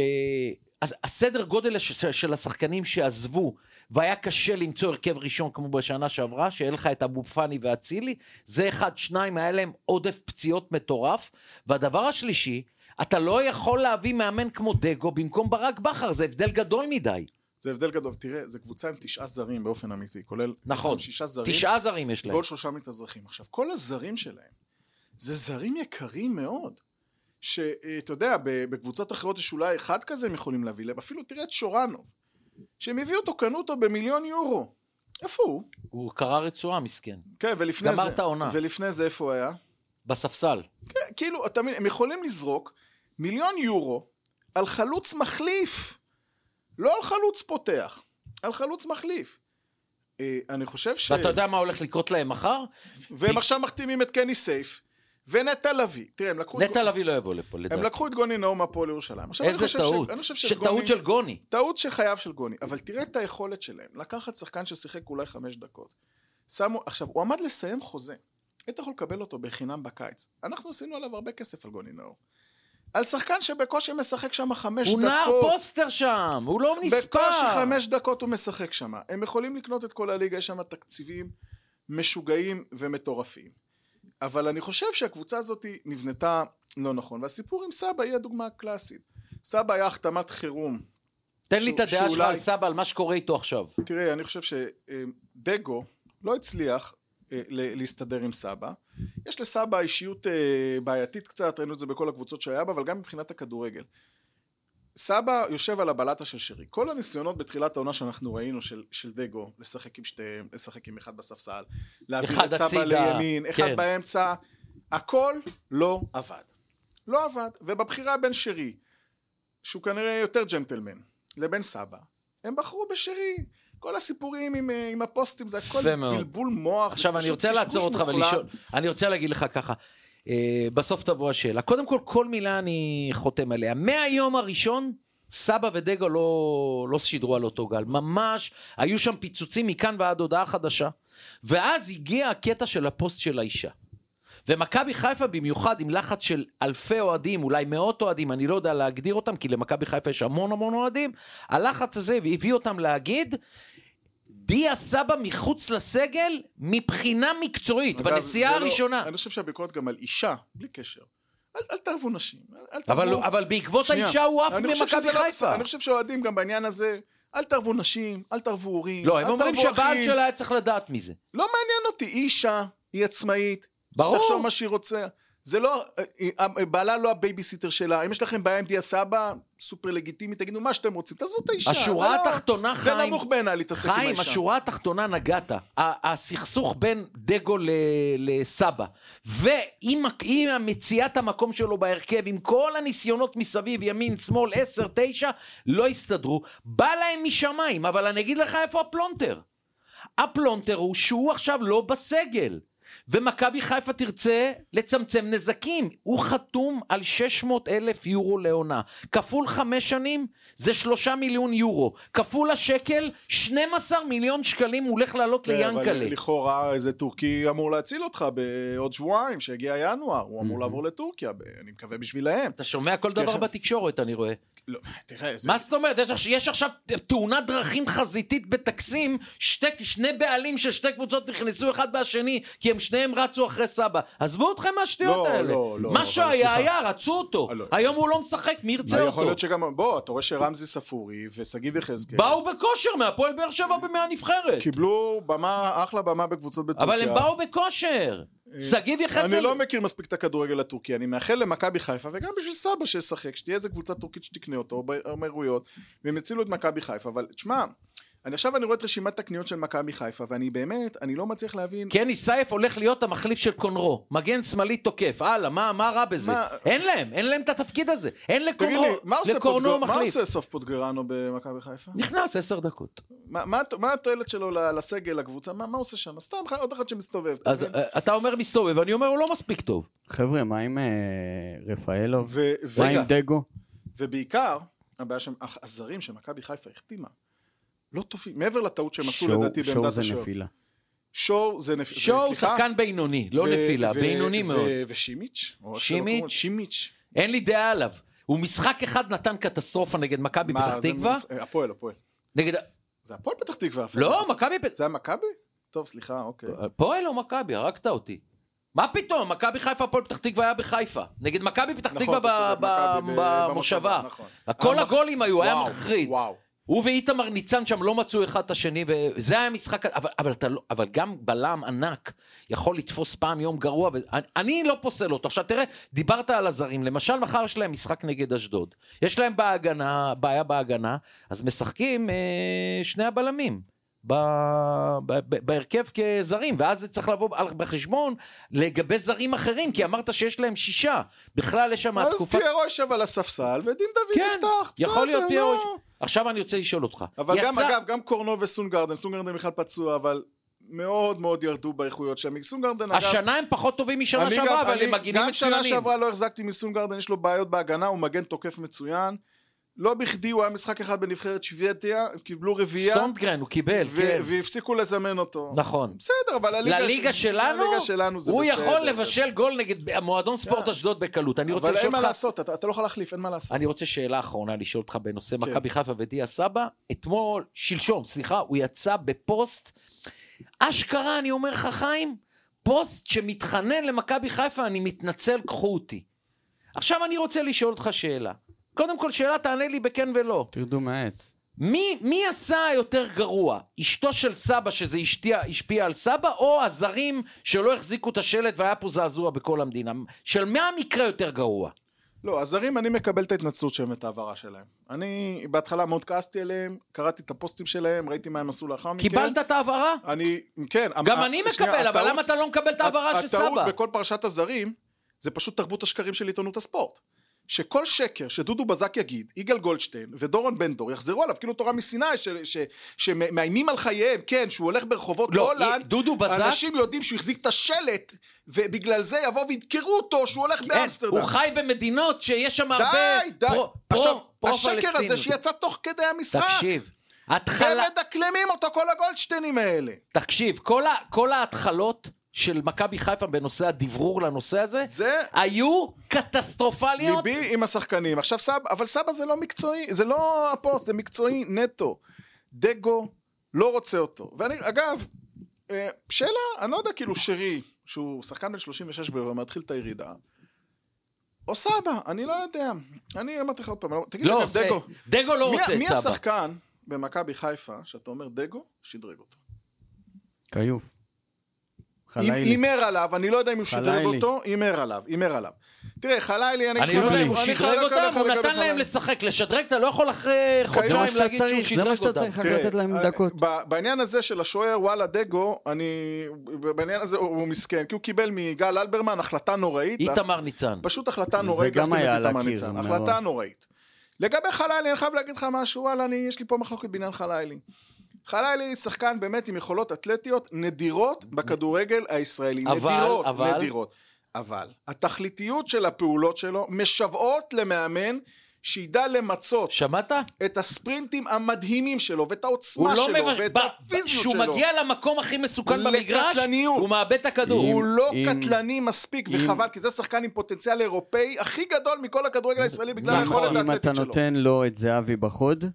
אז הסדר גודל הש- של השחקנים שעזבו, והיה קשה למצוא הרכב ראשון כמו בשנה שעברה, שיהיה לך את אבו פאני ואצילי, זה אחד, שניים, היה להם עודף פציעות מטורף. והדבר השלישי, אתה לא יכול להביא מאמן כמו דגו במקום ברק בכר, זה הבדל גדול מדי.
זה הבדל גדול. תראה, זו קבוצה עם תשעה זרים באופן אמיתי, כולל...
נכון.
שישה זרים.
תשעה זרים יש להם.
ועוד שלושה מתאזרחים. עכשיו, כל הזרים שלהם, זה זרים יקרים מאוד. שאתה יודע, ב- בקבוצות אחרות יש אולי אחד כזה הם יכולים להביא להם. אפילו תראה את שורנוב. שהם הביאו אותו, קנו אותו במיליון יורו. איפה הוא?
הוא קרע רצועה, מסכן.
כן, ולפני זה...
גמר את העונה.
ולפני זה איפה הוא היה?
בספסל.
כן, כאילו, אתה מבין, הם יכולים לזרוק מיליון יורו על חלוץ מחליף, לא על חלוץ פותח, על חלוץ מחליף. אה, אני חושב ש...
ואתה יודע מה הולך לקרות להם מחר?
והם עכשיו מחתימים את קני סייף ונטע לביא. תראה, הם לקחו... את
נטע
גו-
לביא לא יבוא לפה,
הם
לדעתי.
לקחו את גוני נאום מהפועל ירושלים. עכשיו, אני
איזה
חושב ש-
טעות.
אני חושב שגוני-
שטעות של גוני.
טעות שחייו של גוני, אבל תראה את היכולת שלהם. לקחת שחקן ששיחק אולי חמש דקות. שמו, עכשיו, הוא עמד לסיים חוזה. היית יכול לקבל אותו בחינם בקיץ. אנחנו עשינו עליו הרבה כסף על גוני נאור. על שחקן שבקושי משחק שם חמש
הוא
דקות.
נער פוסטר שם, הוא לא נספר.
בקושי חמש דקות הוא משחק שם. הם יכולים לקנות את כל הליגה, יש שם תקציבים משוגעים ומטורפים. אבל אני חושב שהקבוצה הזאת נבנתה לא נכון, והסיפור עם סבא היא הדוגמה הקלאסית. סבא היה החתמת חירום.
תן לי
שהוא-
את הדעה שלך
שאולי-
על סבא, על מה שקורה איתו עכשיו.
תראה, אני חושב שדגו לא הצליח אה, ל- להסתדר עם סבא. יש לסבא אישיות אה, בעייתית קצת, ראינו את זה בכל הקבוצות שהיה בה, אבל גם מבחינת הכדורגל. סבא יושב על הבלטה של שרי. כל הניסיונות בתחילת העונה שאנחנו ראינו של, של דגו, לשחק עם שתיהם, לשחק עם אחד בספסל, להעביר
אחד
את סבא
הצידה,
לימין, אחד
כן.
באמצע, הכל לא עבד. לא עבד. ובבחירה בין שרי, שהוא כנראה יותר ג'נטלמן, לבין סבא, הם בחרו בשרי. כל הסיפורים עם, אה, עם הפוסטים, זה הכל
יפה מאוד.
בלבול מוח. זה
עכשיו אני
פשוט
רוצה
קשקוש
לעצור אותך
מוחלט.
ולשאול, אני רוצה להגיד לך ככה, אה, בסוף תבוא השאלה. קודם כל, כל מילה אני חותם עליה. מהיום הראשון, סבא ודגו לא, לא שידרו על אותו גל, ממש, היו שם פיצוצים מכאן ועד הודעה חדשה. ואז הגיע הקטע של הפוסט של האישה. ומכבי חיפה במיוחד עם לחץ של אלפי אוהדים, אולי מאות אוהדים, אני לא יודע להגדיר אותם, כי למכבי חיפה יש המון המון אוהדים, הלחץ הזה הביא אותם להגיד, דיה סבא מחוץ לסגל מבחינה מקצועית,
אגב,
בנסיעה
זה לא-
הראשונה.
אני חושב שהביקורת גם על אישה, בלי קשר. אל, אל תערבו נשים. אל- אל תערבו...
אבל, אבל בעקבות
שנייה.
האישה הוא עף
אני חושב שזה
ממכבי
לא
חיפה.
בסדר. אני חושב שהאוהדים גם בעניין הזה, אל תערבו נשים, אל תערבו הורים,
לא, הם
אל
אומרים
תערבו
שהבעל
אחים.
שלה היה צריך לדעת מזה.
לא מעניין אותי, היא אישה, היא עצמאית.
ברור.
שתחשוב מה שהיא רוצה. זה לא, אה, אה, בעלה לא הבייביסיטר שלה, אם יש לכם בעיה עם דיה סבא, סופר לגיטימי, תגידו מה שאתם רוצים, תעזבו את האישה.
השורה
זה לא-
התחתונה,
זה
חיים,
נמוך בעיניי להתעסק עם האישה.
חיים, השורה התחתונה נגעת. ה- הסכסוך בין דגו ל- לסבא, ועם ה- עם מציאת המקום שלו בהרכב, עם כל הניסיונות מסביב, ימין, שמאל, 10, 9, לא הסתדרו. בא להם משמיים, אבל אני אגיד לך איפה הפלונטר. הפלונטר הוא שהוא עכשיו לא בסגל. ומכבי חיפה תרצה לצמצם נזקים. הוא חתום על 600 אלף יורו לעונה. כפול חמש שנים זה שלושה מיליון יורו. כפול השקל, 12 מיליון שקלים הוא הולך לעלות
כן, אבל
ליאנקלה.
לכאורה איזה טורקי אמור להציל אותך בעוד שבועיים, שיגיע ינואר, הוא אמור
Mhm.
לעבור לטורקיה, ב- אני מקווה בשבילהם.
אתה שומע כל דבר
כן.
בתקשורת, אני רואה.
לא, תראה, זה...
מה זאת אומרת? יש עכש- יש עכשיו תאונת דרכים חזיתית בטקסים, שתי- שני בעלים של שתי קבוצות נכנסו אחד בשני, כי הם שניהם רצו אחרי סבא. עזבו אתכם מהשטויות
לא,
האלה.
לא, לא,
מה
אבל
שהיה
סליחה.
היה, רצו אותו.
אה, לא.
היום הוא לא משחק, מי ירצה
אבל יכול
אותו?
להיות שגם... בוא, אתה רואה שרמזי ספורי ושגיב יחזקאל...
באו בכושר מהפועל באר שבע במהנבחרת.
קיבלו במה, אחלה במה בקבוצות בטורקיה.
אבל הם באו בכושר.
אה,
שגיב
אני
יחזקאל...
לא מכיר מספיק את הכדורגל הטורקי, אני מאחל למכבי חיפה וגם בשביל סבא שישחק, שתהיה איזה קבוצה טורקית שתקנה אותו באמירויות, והם יצילו את מכבי חיפה, אבל תשמע, אני עכשיו אני רואה את רשימת הקניות של מכבי חיפה, ואני באמת, אני לא מצליח להבין,
כן, סייף הולך להיות המחליף של קונרו. מגן שמאלי תוקף. הלאה, מה מה רע בזה?
מה-
אין להם, אין להם את התפקיד הזה. אין
תגיד לי, מה
לקונרו-
עושה
לקורנו
פוטגר- מה
מחליף.
עושה סוף פוטגרנו במכבי חיפה?
נכנס עשר דקות.
מה- מה הת- מה התועלת שלו ל- לסגל, לקבוצה, מה מה הוא עושה שם? סתם ח- עוד אחד שמסתובב. אתה
אז
מבין?
אה, אתה אומר מסתובב, אני אומר הוא לא מספיק טוב.
חבר'ה, מה עם אה, רפאלוב?
ו- ו-
מה
רגע.
עם דגו?
ובעיקר, הבעיה שהם, אך- הזרים שמכבי חיפה החתימה, לא טובים, מעבר לטעות שהם עשו
שואו-
לדעתי
שואו
בעמדת
זה
השוער.
נפילה.
שואו זה נפ...
שואו
סליחה?
שחקן בינוני, לא
ו-
נפילה,
ו-
בינוני
ו-
מאוד.
ו- ושימיץ'? או איך שלא
שימיץ'?
קוראים לו, שימיץ'.
אין לי דעה עליו. הוא משחק אחד נתן קטסטרופה נגד מכבי
מה,
פתח
זה
תקווה.
מס- אה, הפועל, הפועל.
נגד...
זה הפועל פתח תקווה. הפועל.
לא, מכבי... פ-
זה היה מכבי? טוב, סליחה, אוקיי.
פועל או מכבי? הרגת אותי. מה פתאום? מכבי חיפה, הפועל פתח תקווה היה בחיפה. נגד מכבי פתח
נכון,
תקווה
אתה צודק,
ב- ב-
מכבי ב-
במושבה.
נכון.
כל
המח-
הגולים היו, היה
וואו,
מחריד.
וואו.
הוא ואיתמר ניצן שם לא מצאו אחד את השני, וזה היה המשחק, אבל, אבל, אתה לא, אבל גם בלם ענק יכול לתפוס פעם יום גרוע, ואני אני לא פוסל אותו. עכשיו תראה, דיברת על הזרים, למשל מחר יש להם משחק נגד אשדוד. יש להם בהגנה, בעיה בהגנה, אז משחקים אה, שני הבלמים. ב- ב- ב- בהרכב כזרים, ואז זה צריך לבוא על- בחשבון לגבי זרים אחרים, כי אמרת שיש להם שישה. בכלל יש שם
אז
התקופה...
פיירו יושב על הספסל, ודין דוד
כן,
יפתח.
יכול להיות
בסדר,
פיירו
לא.
יושב- עכשיו אני רוצה לשאול אותך.
אבל גם,
יצא-
אגב, גם קורנו וסונגרדן, סונגרדן בכלל פצוע, אבל מאוד מאוד ירדו באיכויות שלהם. סונגרדן, אגב...
השנה הם פחות טובים משנה
אני
שעברה,
גם-
אבל
אני
הם מגינים
גם שנה
מצוינים.
שעברה לא החזקתי מסונגרדן, יש לו בעיות בהגנה, הוא מגן תוקף מצוין. לא בכדי הוא היה משחק אחד בנבחרת שוודיה, הם קיבלו רביעייה,
סונדגרן, הוא קיבל,
ו-
כן.
והפסיקו לזמן אותו.
נכון.
בסדר, אבל הליגה,
לליגה שלנו,
הליגה שלנו זה
הוא
בסדר.
יכול לבשל גול נגד המועדון ספורט
כן.
אשדוד בקלות. אני רוצה
אבל אין
לשאול
מה
אותך...
לעשות, אתה, אתה לא יכול להחליף, אין מה לעשות.
אני רוצה שאלה אחרונה לשאול אותך בנושא
כן.
מכבי חיפה ודיה סבא. אתמול, שלשום, סליחה, הוא יצא בפוסט, אשכרה, אני אומר לך, חיים, פוסט שמתחנן למכבי חיפה, אני מתנצל, קחו אותי. עכשיו אני רוצה לשאול אותך שאלה. קודם כל, שאלה תענה לי בכן ולא.
תרדו מהעץ.
מי, מי עשה יותר גרוע? אשתו של סבא, שזה השפיע, השפיע על סבא, או הזרים שלא החזיקו את השלט והיה פה זעזוע בכל המדינה? של מה המקרה יותר גרוע?
לא, הזרים, אני מקבל את ההתנצלות שלהם ואת ההעברה שלהם. אני בהתחלה מאוד כעסתי עליהם, קראתי את הפוסטים שלהם, ראיתי מה הם עשו לאחר מכן.
קיבלת את ההעברה?
אני, כן.
גם
ה-
אני
שנייה,
מקבל, אבל
הטעות-
למה אתה לא מקבל את ההעברה של סבא?
הטעות בכל פרשת הזרים, זה פשוט תרבות השקרים של עיתונות הספורט. שכל שקר שדודו בזק יגיד, יגאל גולדשטיין ודורון בן דור יחזרו עליו, כאילו תורה מסיני, ש- ש- שמאיימים על חייהם, כן, שהוא הולך ברחובות
לא,
הולנד,
דודו בזק,
אנשים יודעים שהוא החזיק את השלט, ובגלל זה יבואו וידקרו אותו שהוא הולך
אין,
באמסטרדם.
כן, הוא חי במדינות שיש שם הרבה
די, די.
פרו-
עכשיו,
פרו- פרו-פלסטינים.
השקר הזה שיצא תוך כדי המשחק,
תקשיב,
הם
התחלה...
מדקלמים אותו כל הגולדשטיינים האלה.
תקשיב, כל ה- כל ההתחלות של מכבי חיפה בנושא הדברור לנושא הזה,
זה
היו קטסטרופליות.
ליבי עם השחקנים. עכשיו סבא, אבל סבא זה לא מקצועי, זה לא הפוסט, זה מקצועי נטו. דגו לא רוצה אותו. ואני, אגב, אה, שאלה, אני לא יודע, כאילו שרי, שהוא שחקן בן 36 כבר מתחיל את הירידה, או סבא, אני לא יודע. אני אמרתי לך עוד פעם, אני לא- תגיד לי,
לא,
אגב,
זה-
דגו,
דגו לא רוצה
מי,
את סבא.
מי השחקן במכבי חיפה, שאתה אומר דגו, שדרג אותו?
כיוף. חלילי.
הימר עליו, אני לא יודע אם הוא שדרג
חלילי.
אותו, הימר עליו, הימר עליו. תראה, חלילי, אני
אני לא יודע אם הוא
אני
שדרג
חלק עליך
אותם, הוא
לגבי
נתן להם
חלילי.
לשחק. לשדרג אתה לא יכול אחרי
זה
חודשיים
מה שאתה
להגיד שהוא
צריך, זה
שדרג
מה שאתה
אותם.
צריך רק לתת להם
אה,
דקות.
ב- בעניין הזה של השוער וואלה דגו, אני... בעניין הזה הוא הוא מסכן, כי הוא קיבל מיגאל אלברמן החלטה נוראית.
איתמר ניצן.
פשוט החלטה
זה
נוראית
גם
להחתים את
היה נכון. על
איתמר
הקיר,
ניצן.
מאוד.
החלטה נוראית. לגבי חלילי, אני חייב להגיד לך משהו, וואלה, אני, יש לי פה מחלוקת בעניין חלילי. חללי שחקן באמת עם יכולות אתלטיות נדירות בכדורגל הישראלי.
אבל-
נדירות,
אבל-
נדירות. אבל התכליתיות של הפעולות שלו משוועות למאמן שידע למצות
שמעת?
את הספרינטים המדהימים שלו, ואת
הוא
העוצמה
לא
שלו,
מבש...
ואת
ב- ב-
הפיזיות
כשהוא
שלו.
מגיע למקום הכי מסוכן במגרש,
לקטלניות.
הוא מאבד את הכדור.
הוא לא
אם-
קטלני מספיק,
אם-
וחבל, כי זה שחקן עם פוטנציאל אירופאי הכי גדול מכל הכדורגל הישראלי בגלל
נכון.
היכולת
אם אתה
האתלטית שלו.
נותן לו את זהבי בחוד,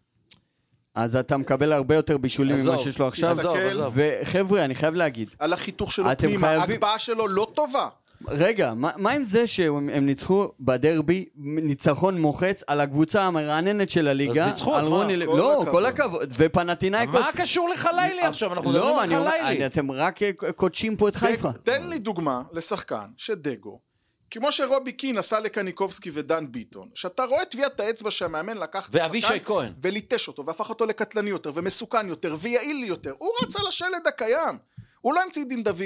אז אתה מקבל הרבה יותר בישולים ממה שיש לו עכשיו.
עזוב,
תסתכל.
עזוב.
וחבר'ה, אני חייב להגיד,
על החיתוך שלו
אתם
פנימה,
חייבים-
ההגבהה שלו לא טובה.
רגע, מה, מה עם זה שהם הם ניצחו בדרבי ניצחון מוחץ על הקבוצה המרעננת של הליגה?
אז ניצחו,
על
אז מה?
רוני לוי.
כל
לא,
הכבוד.
כל הכבוד.
לא
ופנתינייקוס...
מה קשור לחלילי עכשיו? אנחנו מדברים
לא,
על
אני אומר, אני-
חלילי. כן.
אתם רק אה, קודשים פה את חיפה.
תן- תן לי דוגמה לשחקן שדגו, כמו שרובי קין עשה לקניקובסקי ודן ביטון, שאתה רואה טביעת האצבע שהמאמן לקח את השחקן
ואבישי כהן.
וליטש אותו, והפך אותו לקטלני יותר, ומסוכן יותר, ויעיל יותר. הוא רץ על השלד הקיים. הוא לא המציא דין דוד.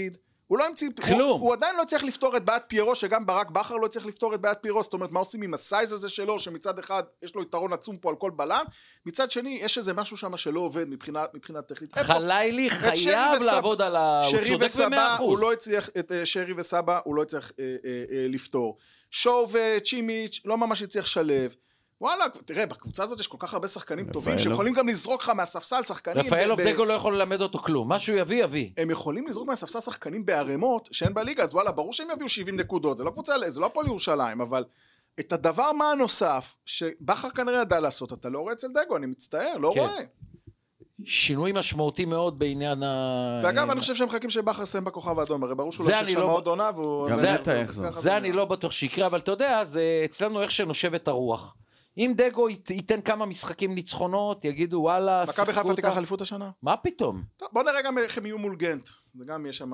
הוא לא המציא...
כלום.
הוא, הוא עדיין לא צריך לפתור את בעיית פיירו, שגם ברק בכר לא צריך לפתור את בעיית פיירו. זאת אומרת, מה עושים עם הסייז הזה שלו, שמצד אחד יש לו יתרון עצום פה על כל בלם, מצד שני, יש איזה משהו שם שלא עובד מבחינה, מבחינה טכנית. איפה-
חלילי
שרי
חייב
וסבא-
לעבוד על ה... אה, הוא
שרי
צודק במאה
וסבא, הוא
אחוז.
לא הצליח, את אה, שרי וסבא, הוא לא הצליח אה, אה, אה, לפתור. שואו וצ'ימיץ', לא ממש הצליח לשלב. וואלה, תראה, בקבוצה הזאת יש כל כך הרבה שחקנים טובים,
רפאלוב.
שיכולים גם לזרוק לך מהספסל שחקנים.
רפאלוב
ב- ב-
דגו לא יכול ללמד אותו כלום. מה שהוא יביא, יביא.
הם יכולים לזרוק מהספסל שחקנים בערימות שאין בליגה, אז וואלה, ברור שהם יביאו 70 נקודות, זה לא קבוצה, זה לא הפועל ירושלים, אבל את הדבר מה הנוסף, שבכר כנראה ידע לעשות, אתה לא רואה אצל דגו, אני מצטער, לא
כן.
רואה.
שינוי משמעותי מאוד בעניין ה...
ואגב, אני חושב שהם מחכים שבכר יסיים בכוכב האדום, הרי ברור שהוא
זה
לא ימשיך
אני
שם
לא-
עוד עונה, והוא...
גם
זה-
נטע
זה-
יחזור.
ככה
זה אני לא בטוח שיקרה, אבל אתה יודע, זה אצלנו איך שנושבת הרוח. אם דגו ית- ייתן כמה משחקים ניצחונות, יגידו וואלה,
מכבי חיפה
אותה."
תיקח אליפות השנה?
מה פתאום?
טוב, בוא נראה גם איך הם יהיו מול גנט. זה גם יש שם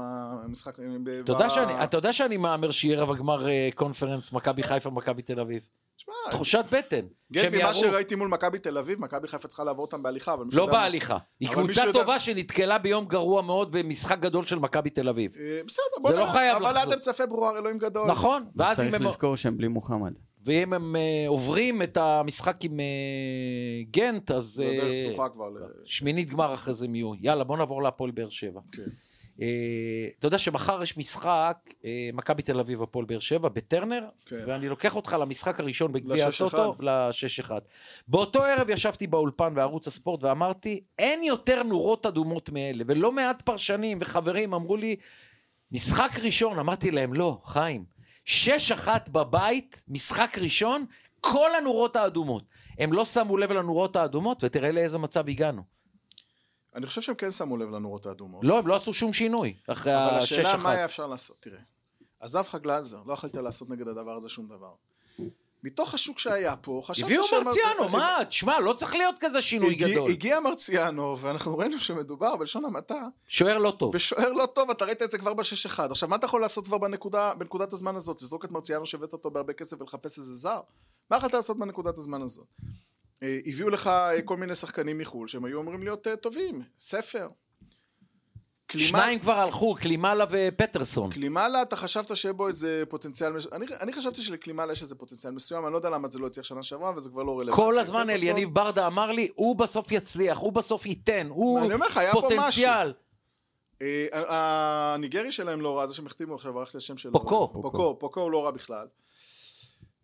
משחק... ב-
אתה יודע
ב-
שאני- אתה יודע שאני מהמר שיהיה רב הגמר אה, קונפרנס מכבי חיפה מכבי תל אביב.
שמע,
תחושת בטן. שהם
גנט, אה, כן, ממה
יעברו,
שראיתי מול מכבי תל אביב, מכבי חיפה צריכה לעבור אותם בהליכה, אבל מישהו
לא
יודע-
בהליכה. היא
אבל מישהו
קבוצה
יודע-
טובה שנתקלה ביום גרוע מאוד ומשחק גדול של מכבי תל אביב.
אה, בסדר, בוא
זה
נראה.
לא חייב
אבל עד
לחזור.
אמצע פברואר, אלוהים גדול.
נכון? ואז אם
צריך
הם...
לזכור שהם בלי מוחמד.
ואם הם אה, עוברים את המשחק עם אה, גנט, אז...
זה
אה,
דרך פתוחה כבר. ל-
שמינית גמר אחרי זה הם יהיו. יאללה, בוא נעבור להפועל באר שבע.
כן.
אה, אתה יודע שמחר יש משחק, אה, מכבי תל אביב, הפועל באר שבע, בטרנר,
כן.
ואני לוקח אותך למשחק הראשון בגביע
לשש אחד.
הטוטו, לשש אחד. באותו ערב ישבתי באולפן בערוץ הספורט ואמרתי, אין יותר נורות אדומות מאלה, ולא מעט פרשנים וחברים אמרו לי, משחק ראשון, אמרתי להם, לא, חיים, שש אחת בבית, משחק ראשון, כל הנורות האדומות. הם לא שמו לב לנורות האדומות, ותראה לאיזה מצב הגענו.
אני חושב שהם כן שמו לב לנורות האדומות.
לא, הם לא עשו שום שינוי, אחרי
אבל
השש
השאלה מה
אחת.
היה אפשר לעשות, תראה. עזב לך גלאזר, לא יכולת לעשות נגד הדבר הזה שום דבר. מתוך השוק שהיה פה, חשבת
הביאו
שהם-
מרציאנו, מה? תשמע, לא צריך להיות כזה שינוי
הגיע-
גדול.
הגיע מרציאנו, ואנחנו ראינו שמדובר בלשון המעטה
שוער לא טוב.
ושוער לא טוב, אתה ראית את זה כבר בשש אחד. עכשיו, מה אתה יכול לעשות כבר בנקודה, בנקודת הזמן הזאת? לזרוק את מרציאנו שהבאת אותו בהרבה כסף ולחפש איזה זר? מה יכולת לעשות בנקודת הזמן הזאת? אה, הביאו לך אה, כל מיני שחקנים מחו"ל שהם היו אמורים להיות אה, טובים. ספר. קלימה-
שניים כבר הלכו, קלימאלה ופטרסון.
קלימלה, אתה חשבת שיהיה בו איזה פוטנציאל, מש... אני, אני חשבתי שלקלימלה יש איזה פוטנציאל מסוים, אני לא יודע למה זה לא הצליח שנה שעברה וזה כבר לא רלוונטי.
כל הזמן אל
בסוף-
יניב ברדה אמר לי, הוא בסוף יצליח, הוא בסוף ייתן, הוא
אני אומר לך, היה פה משהו.
פוטנציאל.
אה, ה- הניגרי שלהם לא רע, זה שהם החתימו עכשיו, ערכתי השם שלו.
פוקו.
פוקו, פוקו הוא לא רע בכלל.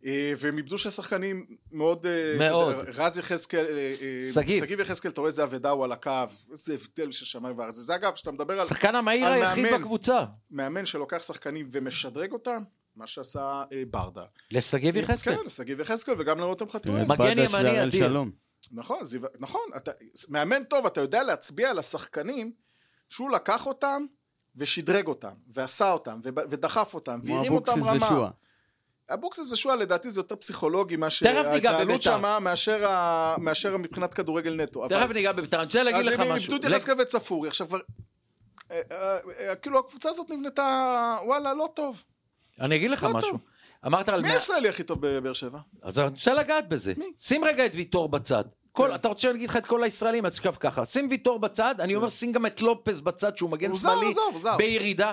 אה, והם איבדו שני שחקנים מאוד... אה, אתה
מאוד.
יודע, רז יחזקאל... אה, אה,
שגיב.
שגיב יחזקאל, אתה רואה איזה אבדה הוא על הקו, איזה הבדל של שמיים וארץ. זה אגב, כשאתה מדבר על
השחקן המהיר
על
היחיד
מאמן.
בקבוצה.
מאמן שלוקח שחקנים ומשדרג אותם, מה שעשה אה, ברדה.
לשגיב יחזקאל.
כן, לשגיב יחזקאל וגם לרותם חתואל.
מגן
בדש
ימני
והראל
אדיר.
שלום.
נכון, זיו... נכון, אתה... מאמן טוב, אתה יודע להצביע על השחקנים שהוא לקח אותם ושדרג אותם, ועשה אותם, וב... ודחף אותם,
כמו
והרים אותם
אבוקסיס
רמה.
ושועה.
אבוקסיס ושועה לדעתי זה יותר פסיכולוגי מה
ניגע בבית"ר.
שמה מאשר, ה... מאשר מבחינת כדורגל נטו. אבל-
תכף ניגע בביתר, אני רוצה להגיד לך
אז הם
משהו.
איבדו את יחזקאל וצפורי, עכשיו כבר... אה, אה, אה, כאילו הקבוצה הזאת נבנתה, וואלה, לא טוב.
אני אגיד לך
לא
משהו.
טוב.
אמרת על...
מי
מאה-
הישראלי הכי טוב בבאר שבע?
אז אני רוצה לגעת בזה.
מי? כן.
שים רגע את ויטור בצד. כל, אתה רוצה שאני אגיד לך את כל הישראלים, אז תשכב ככה. שים ויטור בצד, אני אומר שים גם את לופס בצד, שהוא מגן
כן. הוא זר,
שמאלי,
הוא זר, הוא זר.
בירידה.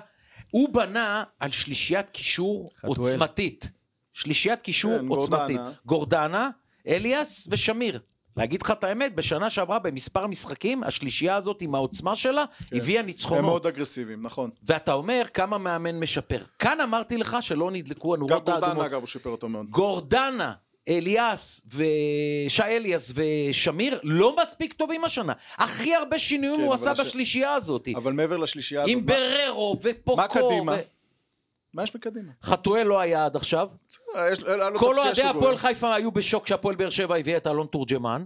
הוא בנה על שלישיית קישור
חתואל.
עוצמתית. שלישיית קישור
כן,
עוצמתית.
גורדנה.
גורדנה, אליאס ושמיר. להגיד לך את האמת, בשנה שעברה במספר משחקים, השלישייה הזאת עם העוצמה שלה, הביאה
כן. הם
ניצחונות.
מאוד אגרסיביים, נכון.
ואתה אומר כמה מאמן משפר. כאן אמרתי לך שלא נדלקו
גם
הנורות
גורדנה
האדומות.
אגב, הוא שיפר אותו מאוד.
גורדנה, אליאס ושי אליאס ושמיר לא מספיק טובים השנה. הכי הרבה שינויים
כן,
הוא
אבל
עשה
הש-
בשלישייה הזאת.
אבל מעבר לשלישייה הזאת,
עם
מה-
בררו ופוקו.
מה קדימה?
ו-
מה יש בקדימה?
חתואל לא היה עד עכשיו.
בסדר, אה, יש- היה לו את
כל
הפציעה
אוהדי
שהוא
הפועל
גורם.
חיפה היו בשוק שהפועל באר שבע הביאה את אלון תורג'מן.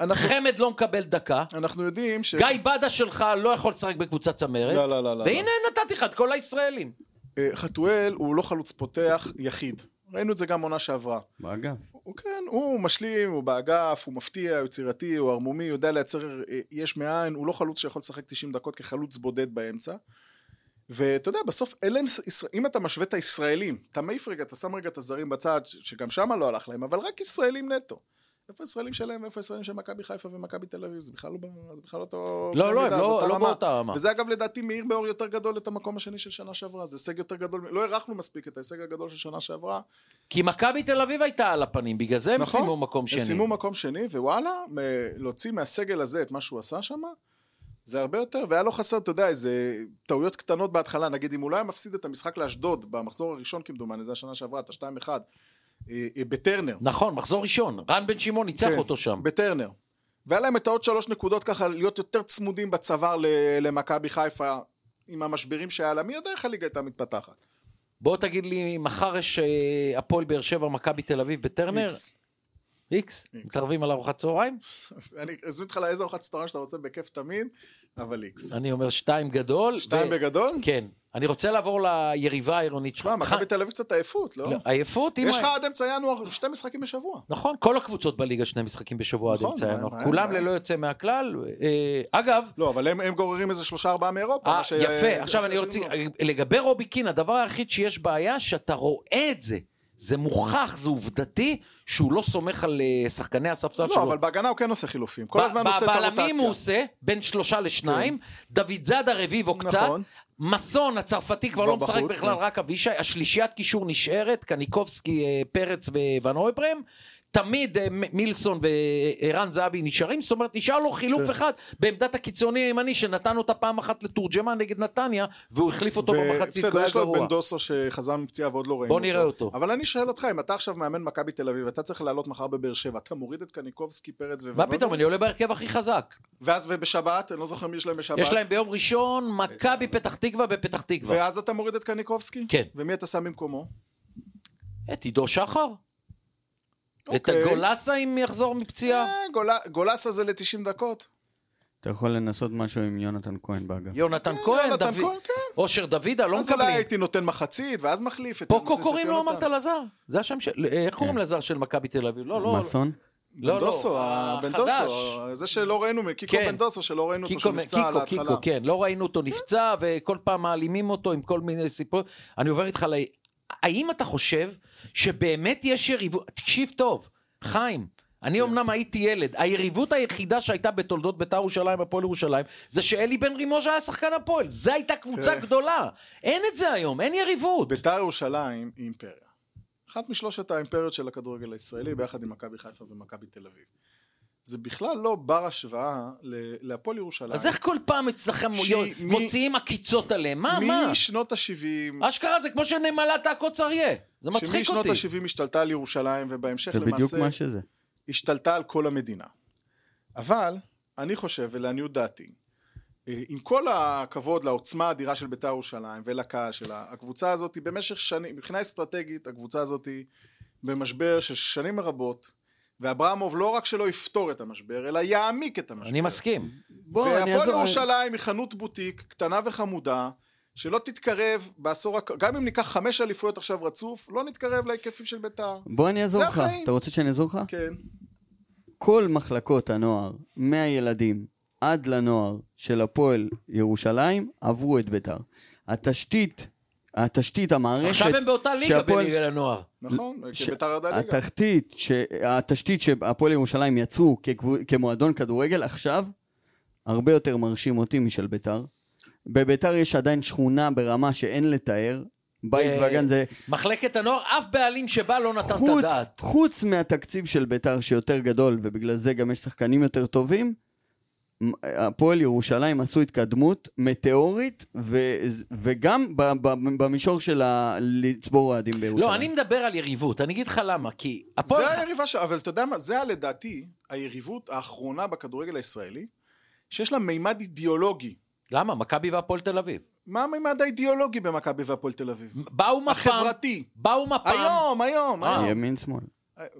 אנחנו-
חמד לא מקבל דקה.
אנחנו יודעים ש...
גיא בדה שלך לא יכול לשחק בקבוצת צמרת.
לא, לא, לא, לא.
והנה נתתי לך את כל הישראלים.
לא. אה, חתואל הוא לא חלוץ פותח יחיד. ראינו את זה גם עונה שעברה.
באגף.
הוא כן, הוא משלים, הוא באגף, הוא מפתיע, הוא יצירתי, הוא ערמומי, הוא יודע לייצר אה, יש מאין, הוא לא חלוץ שיכול לשחק 90 דקות כחלוץ בודד באמצע. ואתה יודע, בסוף אלה הם, ישראל- אם אתה משווה את הישראלים, אתה מעיף רגע, אתה שם רגע את הזרים בצד, ש- שגם שם לא הלך להם, אבל רק ישראלים נטו. איפה הישראלים שלהם ואיפה הישראלים של מכבי חיפה ומכבי תל אביב, זה בכלל לא, ב- זה בכלל לא אותו...
לא, לא, הם
במידה, זו
לא
אותה
לא
רמה.
באותה רמה.
וזה אגב לדעתי מאיר באור יותר גדול את המקום השני של שנה שעברה, זה הישג יותר גדול, לא הערכנו מספיק את ההישג הגדול של שנה שעברה,
כי מכבי תל אביב הייתה על הפנים, בגלל זה הם
נכון.
סיימו מקום
הם
שני.
סיימו מקום שני, ווואלה, מ- להוציא מהסגל הזה את מה שהוא עשה שם, זה הרבה יותר, והיה לו חסר, אתה יודע, איזה טעויות קטנות בהתחלה, נגיד אם הוא לא היה מפסיד את המשחק לאשדוד במחזור הראשון כמדומני, זה השנה שעברה, את ה-2-1, אה, אה, בטרנר,
נכון, מחזור ראשון. רן בן שמעון ניצח
כן.
אותו שם.
בטרנר. והיה להם את העוד שלוש נקודות ככה, להיות יותר צמודים בצוואר ל- למכבי חיפה, עם המשברים שהיה לה, מי יודע איך הליגה הייתה מתפתחת.
בוא תגיד לי, מחר יש אה, הפועל באר שבע, מכבי תל אביב בטרנר?
איקס.
איקס?
איקס.
מתערבים על ארוחת צהריים?
אני אזמין אותך לאיזה ארוחת סטרן שאתה רוצה בכיף תמיד, אבל איקס.
אני אומר שתיים גדול.
שתיים
ו-
בגדול?
כן. אני רוצה לעבור ליריבה העירונית שלך.
שמע, מכבי תל אביב קצת עייפות, לא?
לא, עייפות? אם
יש לך
ה-
עד אמצע ינואר שתי משחקים בשבוע.
נכון, כל הקבוצות בליגה שני משחקים בשבוע עד
נכון,
אמצע
מה-
ינואר.
מה-
כולם
מה-
ללא יוצא מהכלל. אה, אגב,
לא, אבל הם, הם גוררים איזה שלושה ארבעה מאירופה.
אה,
מה ש-
יפה, עכשיו אני
אחרים
רוצה,
לא.
לגבי רובי קין, הדבר היחיד שיש בעיה, שאתה רואה את זה. זה מוכח, זה עובדתי, שהוא לא סומך על אה, שחקני הספסל שלו.
לא, אבל בהגנה הוא כן עושה חילופים. כל
ב-
הזמן הוא עושה את
בבלמים הוא
הרוטציה. כן.
עושה, בין שלושה לשניים, דוד זאדה רביבו קצת,
נכון.
מסון הצרפתי כבר
כבר
לא משחק
בחוץ,
בכלל,
כן.
רק אבישי, השלישיית קישור נשארת, קניקובסקי, אה, פרץ וואן אויברם, תמיד אה, מ- מילסון וערן זהבי נשארים, זאת אומרת נשאר לו
כן.
חילוף אחד בעמדת הקיצוני הימני שנתן אותה פעם אחת לתורג'מן נגד נתניה, והוא החליף אותו
ו-
במחצית,
בסדר,
לא היה
יש לו את
גרוע.
בן דוסו שחזר מפציעה ועוד לא ראינו
בוא נראה אותו.
אבל אני שואל אותך, אם אתה עכשיו מאמן מכבי תל אביב, אתה צריך לעלות מחר בבאר שבע, אתה מוריד את קניקובסקי, פרץ
מה
ווונובר?
פתאום, אני עולה בהרכב הכי חזק.
ואז ובשבת, אני לא זוכר מי יש להם בשבת.
יש להם ביום ראשון מכבי פתח תקווה בפתח תקווה.
ואז אתה מוריד את קניקובסקי?
כן.
ומי אתה שם במקומו?
את עידו שחר? את
אוקיי.
הגולסה אם יחזור מפציעה?
אה, גולה- גולסה זה ל-90 דקות.
אתה יכול לנסות משהו עם יונתן כהן באגף.
יונתן
כן,
כהן,
יונתן
דוד-
כהן, כן.
אושר דוידה, לא
אז אולי
מקבלים.
הייתי נותן מחצית, ואז מחליף את...
פוקו
מכניס את
קוראים לו
יונתן.
אמרת לזר? זה השם של... אה, איך קוראים לזר של מכבי תל אביב? לא, לא.
מסון?
לא, לא,
בנדוסו,
החדש.
הבנדוסו, זה שלא אה, ראינו, קיקו
כן.
בנדוסו שלא ראינו אותו,
קיקו,
שנפצע על
קיקו,
ההתחלה.
קיקו, כן, לא ראינו אותו נפצע וכל פעם מעלימים אותו עם כל מיני סיפורים. אני עובר איתך ל... האם אתה חושב שבאמת יש יריבות? תקשיב טוב, חיים, אני
כן.
אמנם הייתי ילד, היריבות היחידה שהייתה בתולדות בית"ר ירושלים, הפועל ירושלים, זה שאלי בן רימוז' היה שחקן הפועל, זו הייתה קבוצה
כן.
גדולה. אין את זה היום, אין יריבות.
ביתר ירושלים היא אימפריה. אחת משלושת האימפריות של הכדורגל הישראלי, ביחד עם מכבי חיפה ומכבי תל אביב. זה בכלל לא בר השוואה ל- להפועל ירושלים.
אז איך כל פעם אצלכם
שהיא-
מויו-
מי-
מוציאים עקיצות עליהם? מה, מה?
משנות ה-70,
אשכרה זה כמו שנמלת העקוץ אריה. זה מצחיק
שמשנות
אותי.
ה-70 השתלטה על ירושלים, ובהמשך
זה בדיוק
למעשה
מה שזה.
השתלטה על כל המדינה. אבל, אני חושב, ולעניות דעתי, אה, עם כל הכבוד לעוצמה האדירה של בית"ר ירושלים ולקהל שלה, הקבוצה הזאת היא במשך שנים, מבחינה אסטרטגית, הקבוצה הזאת היא במשבר של שנים רבות, ואברמוב לא רק שלא יפתור את המשבר, אלא יעמיק את המשבר.
אני מסכים.
והפועל ירושלים היא חנות בוטיק קטנה וחמודה, שלא תתקרב בעשור, הק- גם אם ניקח חמש אליפויות עכשיו רצוף, לא נתקרב להיקפים של בית"ר.
בוא אני אעזור
זה
לך.
החיים.
אתה רוצה שאני אעזור לך?
כן.
כל מחלקות הנוער, מהילדים עד לנוער של הפועל ירושלים, עברו את ביתר. התשתית, התשתית, המערכת,
עכשיו הם באותה ליגה
שהפועל-
בליגה לנוער.
נכון,
ש-
כי בית"ר ירדה ליגה.
התחתית, ש... התשתית שהפועל ירושלים יצרו כקבו- כמועדון כדורגל עכשיו, הרבה יותר מרשים אותי משל ביתר. בביתר יש עדיין שכונה ברמה שאין לתאר. בית
אה,
וגן זה...
מחלקת הנוער, אף בעלים שבא לא נתן את
חוץ,
הדעת.
חוץ מהתקציב של ביתר שיותר גדול, ובגלל זה גם יש שחקנים יותר טובים, מ- הפועל ירושלים עשו התקדמות מטאורית, ו, וגם ב, ב, במישור של ה, לצבור אוהדים בירושלים.
לא, אני מדבר על יריבות, אני אגיד לך למה, כי הפועל...
זה היריבה ש... אבל אתה יודע מה, זה לדעתי היריבות האחרונה בכדורגל הישראלי, שיש לה מימד אידיאולוגי.
למה? מכבי והפועל תל אביב.
מה המימד האידיאולוגי במכבי והפועל תל אביב?
באו מפ"ם,
החברתי.
באו מפ"ם.
היום, היום,
אה.
היום.
ימין שמאל.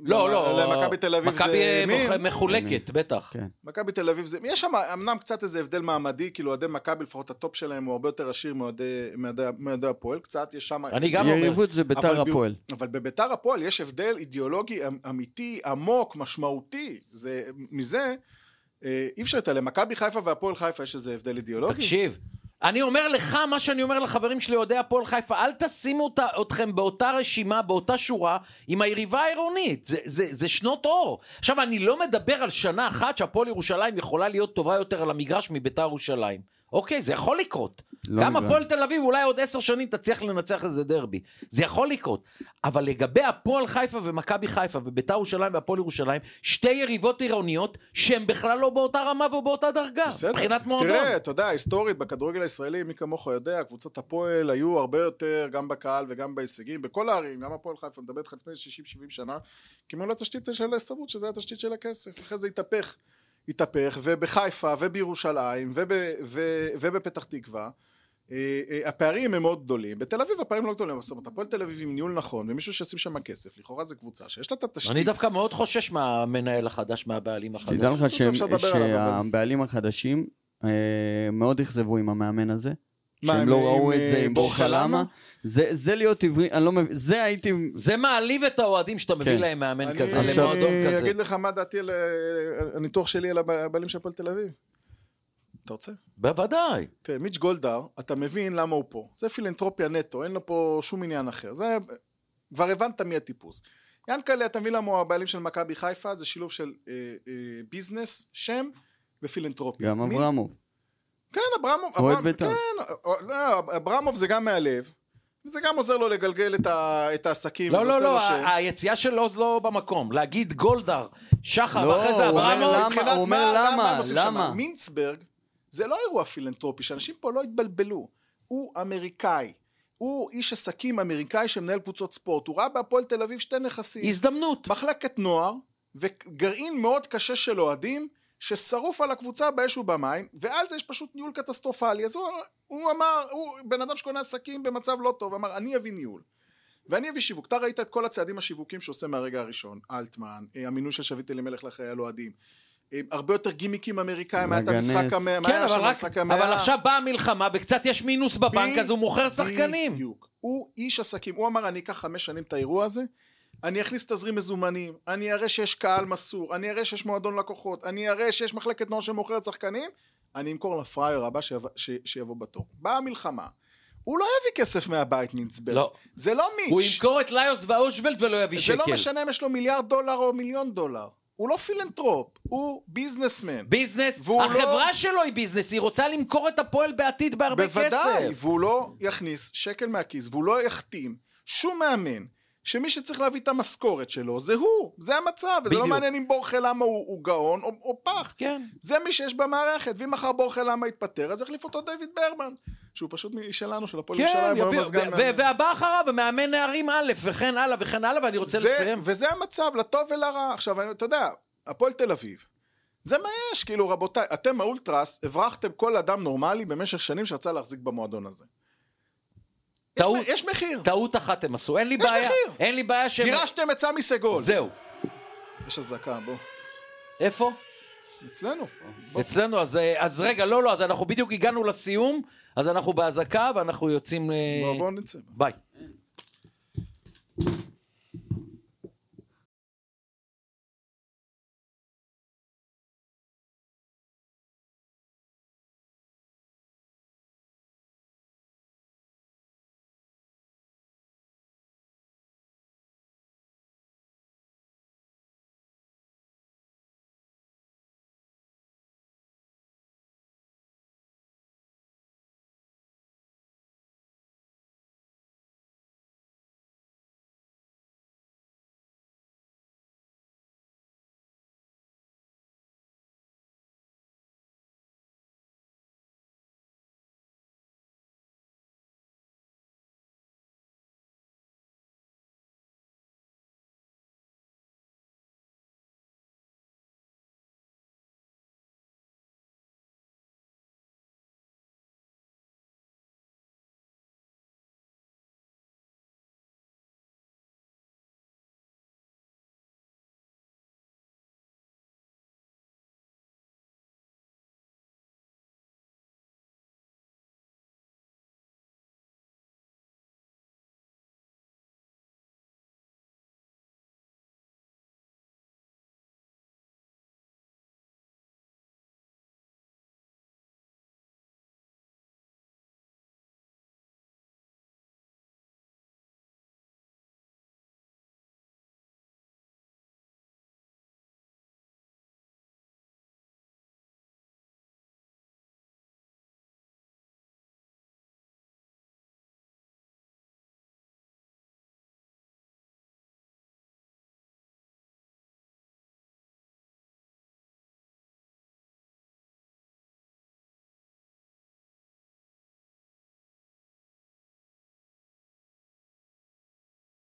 לא, לא.
למכבי תל אביב זה
מכבי אה,
ימין.
מח- מחולקת, בטח.
כן.
מכבי תל אביב זה, יש שם אמנם קצת איזה הבדל מעמדי, כאילו אוהדי מכבי לפחות הטופ שלהם הוא הרבה יותר עשיר מאוהדי- מאוהדי- מאוהדי הפועל, קצת יש שם...
אני גם אומר,
יריבות זה ביתר
אבל ב-
הפועל.
אבל בביתר הפועל יש הבדל אידיאולוגי אמ- אמיתי, עמוק, משמעותי. זה, מזה אה, אי אפשר לתת, למכבי חיפה והפועל חיפה יש איזה הבדל אידיאולוגי.
תקשיב, אני אומר לך מה שאני אומר לחברים שלי אוהדי הפועל חיפה, אל תשימו אותה, אתכם באותה רשימה, באותה שורה, עם היריבה העירונית. זה, זה, זה שנות אור. עכשיו, אני לא מדבר על שנה אחת שהפועל ירושלים יכולה להיות טובה יותר על המגרש מביתר ירושלים. אוקיי, זה יכול לקרות.
לא
גם
נגרם.
הפועל תל אביב אולי עוד עשר שנים תצליח לנצח איזה דרבי. זה יכול לקרות. אבל לגבי הפועל חיפה ומכבי חיפה וביתר ירושלים והפועל ירושלים, שתי יריבות עירוניות שהן בכלל לא באותה רמה ובאותה דרגה. מבחינת מועדון.
תראה, אתה יודע, היסטורית, בכדורגל הישראלי, מי כמוך יודע, קבוצות הפועל היו הרבה יותר, גם בקהל וגם בהישגים, בכל הערים, גם הפועל חיפה, אני מדבר איתך לפני 60-70 שנה, כמו לתשתית של ההסתדרות, שזה התשתית של הכסף. אחרי זה התהפך. התהפך, ובחיפה, ובירושלים, וב, ו, ובפתח תקווה. אה, אה, הפערים הם מאוד גדולים. בתל אביב הפערים לא גדולים, אבל זאת אומרת, הפועל תל אביב עם ניהול נכון, ומישהו שישים שם כסף, לכאורה זו קבוצה שיש לה את התשתית.
אני דווקא מאוד חושש מהמנהל החדש, מהבעלים החדש.
שתדע לך
אפשר
שהם-
לדבר עליו, אבל-
שהבעלים החדשים אה, מאוד אכזבו עם המאמן הזה.
מה,
שהם
עם-
לא
עם,
ראו את
אה,
זה עם בורחה
בורחה למה?
למה. זה זה להיות עברי, אני לא מבין, זה הייתי...
זה מעליב את האוהדים שאתה מביא
כן.
להם מאמן
אני-
כזה,
עכשיו-
למועדון
אני
כזה.
אגיד לך מה דעתי על על הניתוח שלי על הבעלים של הפועל תל אביב. אתה רוצה?
בוודאי.
תראה, מיץ' גולדהר, אתה מבין למה הוא פה. זה פילנטרופיה נטו, אין לו פה שום עניין אחר. זה... כבר הבנת מי הטיפוס. ינקלה, אתה מבין למה הוא הבעלים של מכבי חיפה, זה שילוב של אה, אה, ביזנס, שם ופילנטרופיה.
גם
מי-
אברמוב.
כן, אברמוב.
אוהד
אברהם-
בית"ר.
כן, לא, אברמוב זה גם מהלב, וזה גם עוזר לו לגלגל את, ה, את העסקים.
לא,
וזה
לא,
עושה לו
לא,
שם.
ה- היציאה של עוז לא במקום. להגיד גולדהר, שחר,
לא,
ואחרי זה
הוא אומר
אברמוב.
למה?
מבחינת
הוא אומר
מה-
למה,
הם עושים שם?
למה?
מינצברג זה לא אירוע פילנטרופי, שאנשים פה לא יתבלבלו. הוא אמריקאי. הוא איש עסקים אמריקאי שמנהל קבוצות ספורט. הוא ראה בהפועל תל אביב שתי נכסים.
הזדמנות.
מחלקת נוער וגרעין מאוד קשה של אוהדים ששרוף על הקבוצה באש ובמים, ועל זה יש פשוט ניהול קטסטרופלי. אז הוא, הוא אמר, הוא בן אדם שקונה עסקים במצב לא טוב, אמר, אני אביא ניהול. ואני אביא שיווק. אתה ראית את כל הצעדים השיווקים שעושה מהרגע הראשון. אלטמן, אה, המינוי של שביט אלימלך לחיי הלועדים. אה, הרבה יותר גימיקים אמריקאים, היה את
לגנס.
המשחק המאה, מה
כן,
היה
אבל
שם
רק,
המשחק המאה?
אבל עכשיו באה המלחמה וקצת יש מינוס בבנק, אז הוא מוכר שחקנים.
בדיוק. הוא איש עסקים. הוא אמר, אני אקח חמש שנים את האירוע הזה, אני אכניס תזרים מזומנים, אני אראה שיש קהל מסור, אני אראה שיש מועדון לקוחות, אני אראה שיש מחלקת נוער שמוכרת שחקנים, אני אמכור לפראייר הבא שיבוא, ש, שיבוא בתור. באה המלחמה. הוא לא יביא כסף מהבית, נינצברג.
לא.
זה לא מיץ'.
הוא ימכור את ליוס והאושוולד ולא יביא
זה
שקל.
לא משנה אם יש לו מיליארד דולר או מיליון דולר. הוא לא פילנטרופ, הוא ביזנסמן.
ביזנס,
והוא לא-
החברה שלו היא ביזנס, היא רוצה למכור את הפועל בעתיד בהרבה כסף.
בוודאי, והוא לא יכניס שקל מהכיס, והוא לא יחתים שום מאמן, שמי שצריך להביא את המשכורת שלו זה הוא, זה המצב, וזה
בדיוק.
לא מעניין אם בורחה למה הוא, הוא גאון או, או פח.
כן.
זה מי שיש במערכת, ואם מחר בורחה למה יתפטר, אז יחליף אותו דיוויד ברמן, שהוא פשוט משלנו, של הפועל
כן,
ירושלים, הוא היום
יביאו,
הסגן
ו-
מאמן.
ו- והבא אחריו, המאמן נערים א', וכן הלאה וכן הלאה, ואני רוצה
זה-
לסיים.
וזה המצב, לטוב ולרע. עכשיו, אני- אתה יודע, הפועל תל אביב. זה מה יש, כאילו רבותיי, אתם האולטרס, הברחתם כל אדם נורמלי במשך שנים שרצה להחזיק במועדון הזה. יש
טעות.
מ- יש מחיר.
טעות אחת הם עשו, אין לי
יש
בעיה,
מחיר.
אין לי בעיה שהם...
גירשתם את סמי סגול.
זהו.
יש אזעקה, בוא.
איפה?
אצלנו.
אצלנו, אז, אה, אז רגע, לא, לא, אז אנחנו בדיוק הגענו לסיום, אז אנחנו באזעקה ואנחנו יוצאים... אה,
בוא, בוא נצא.
ביי.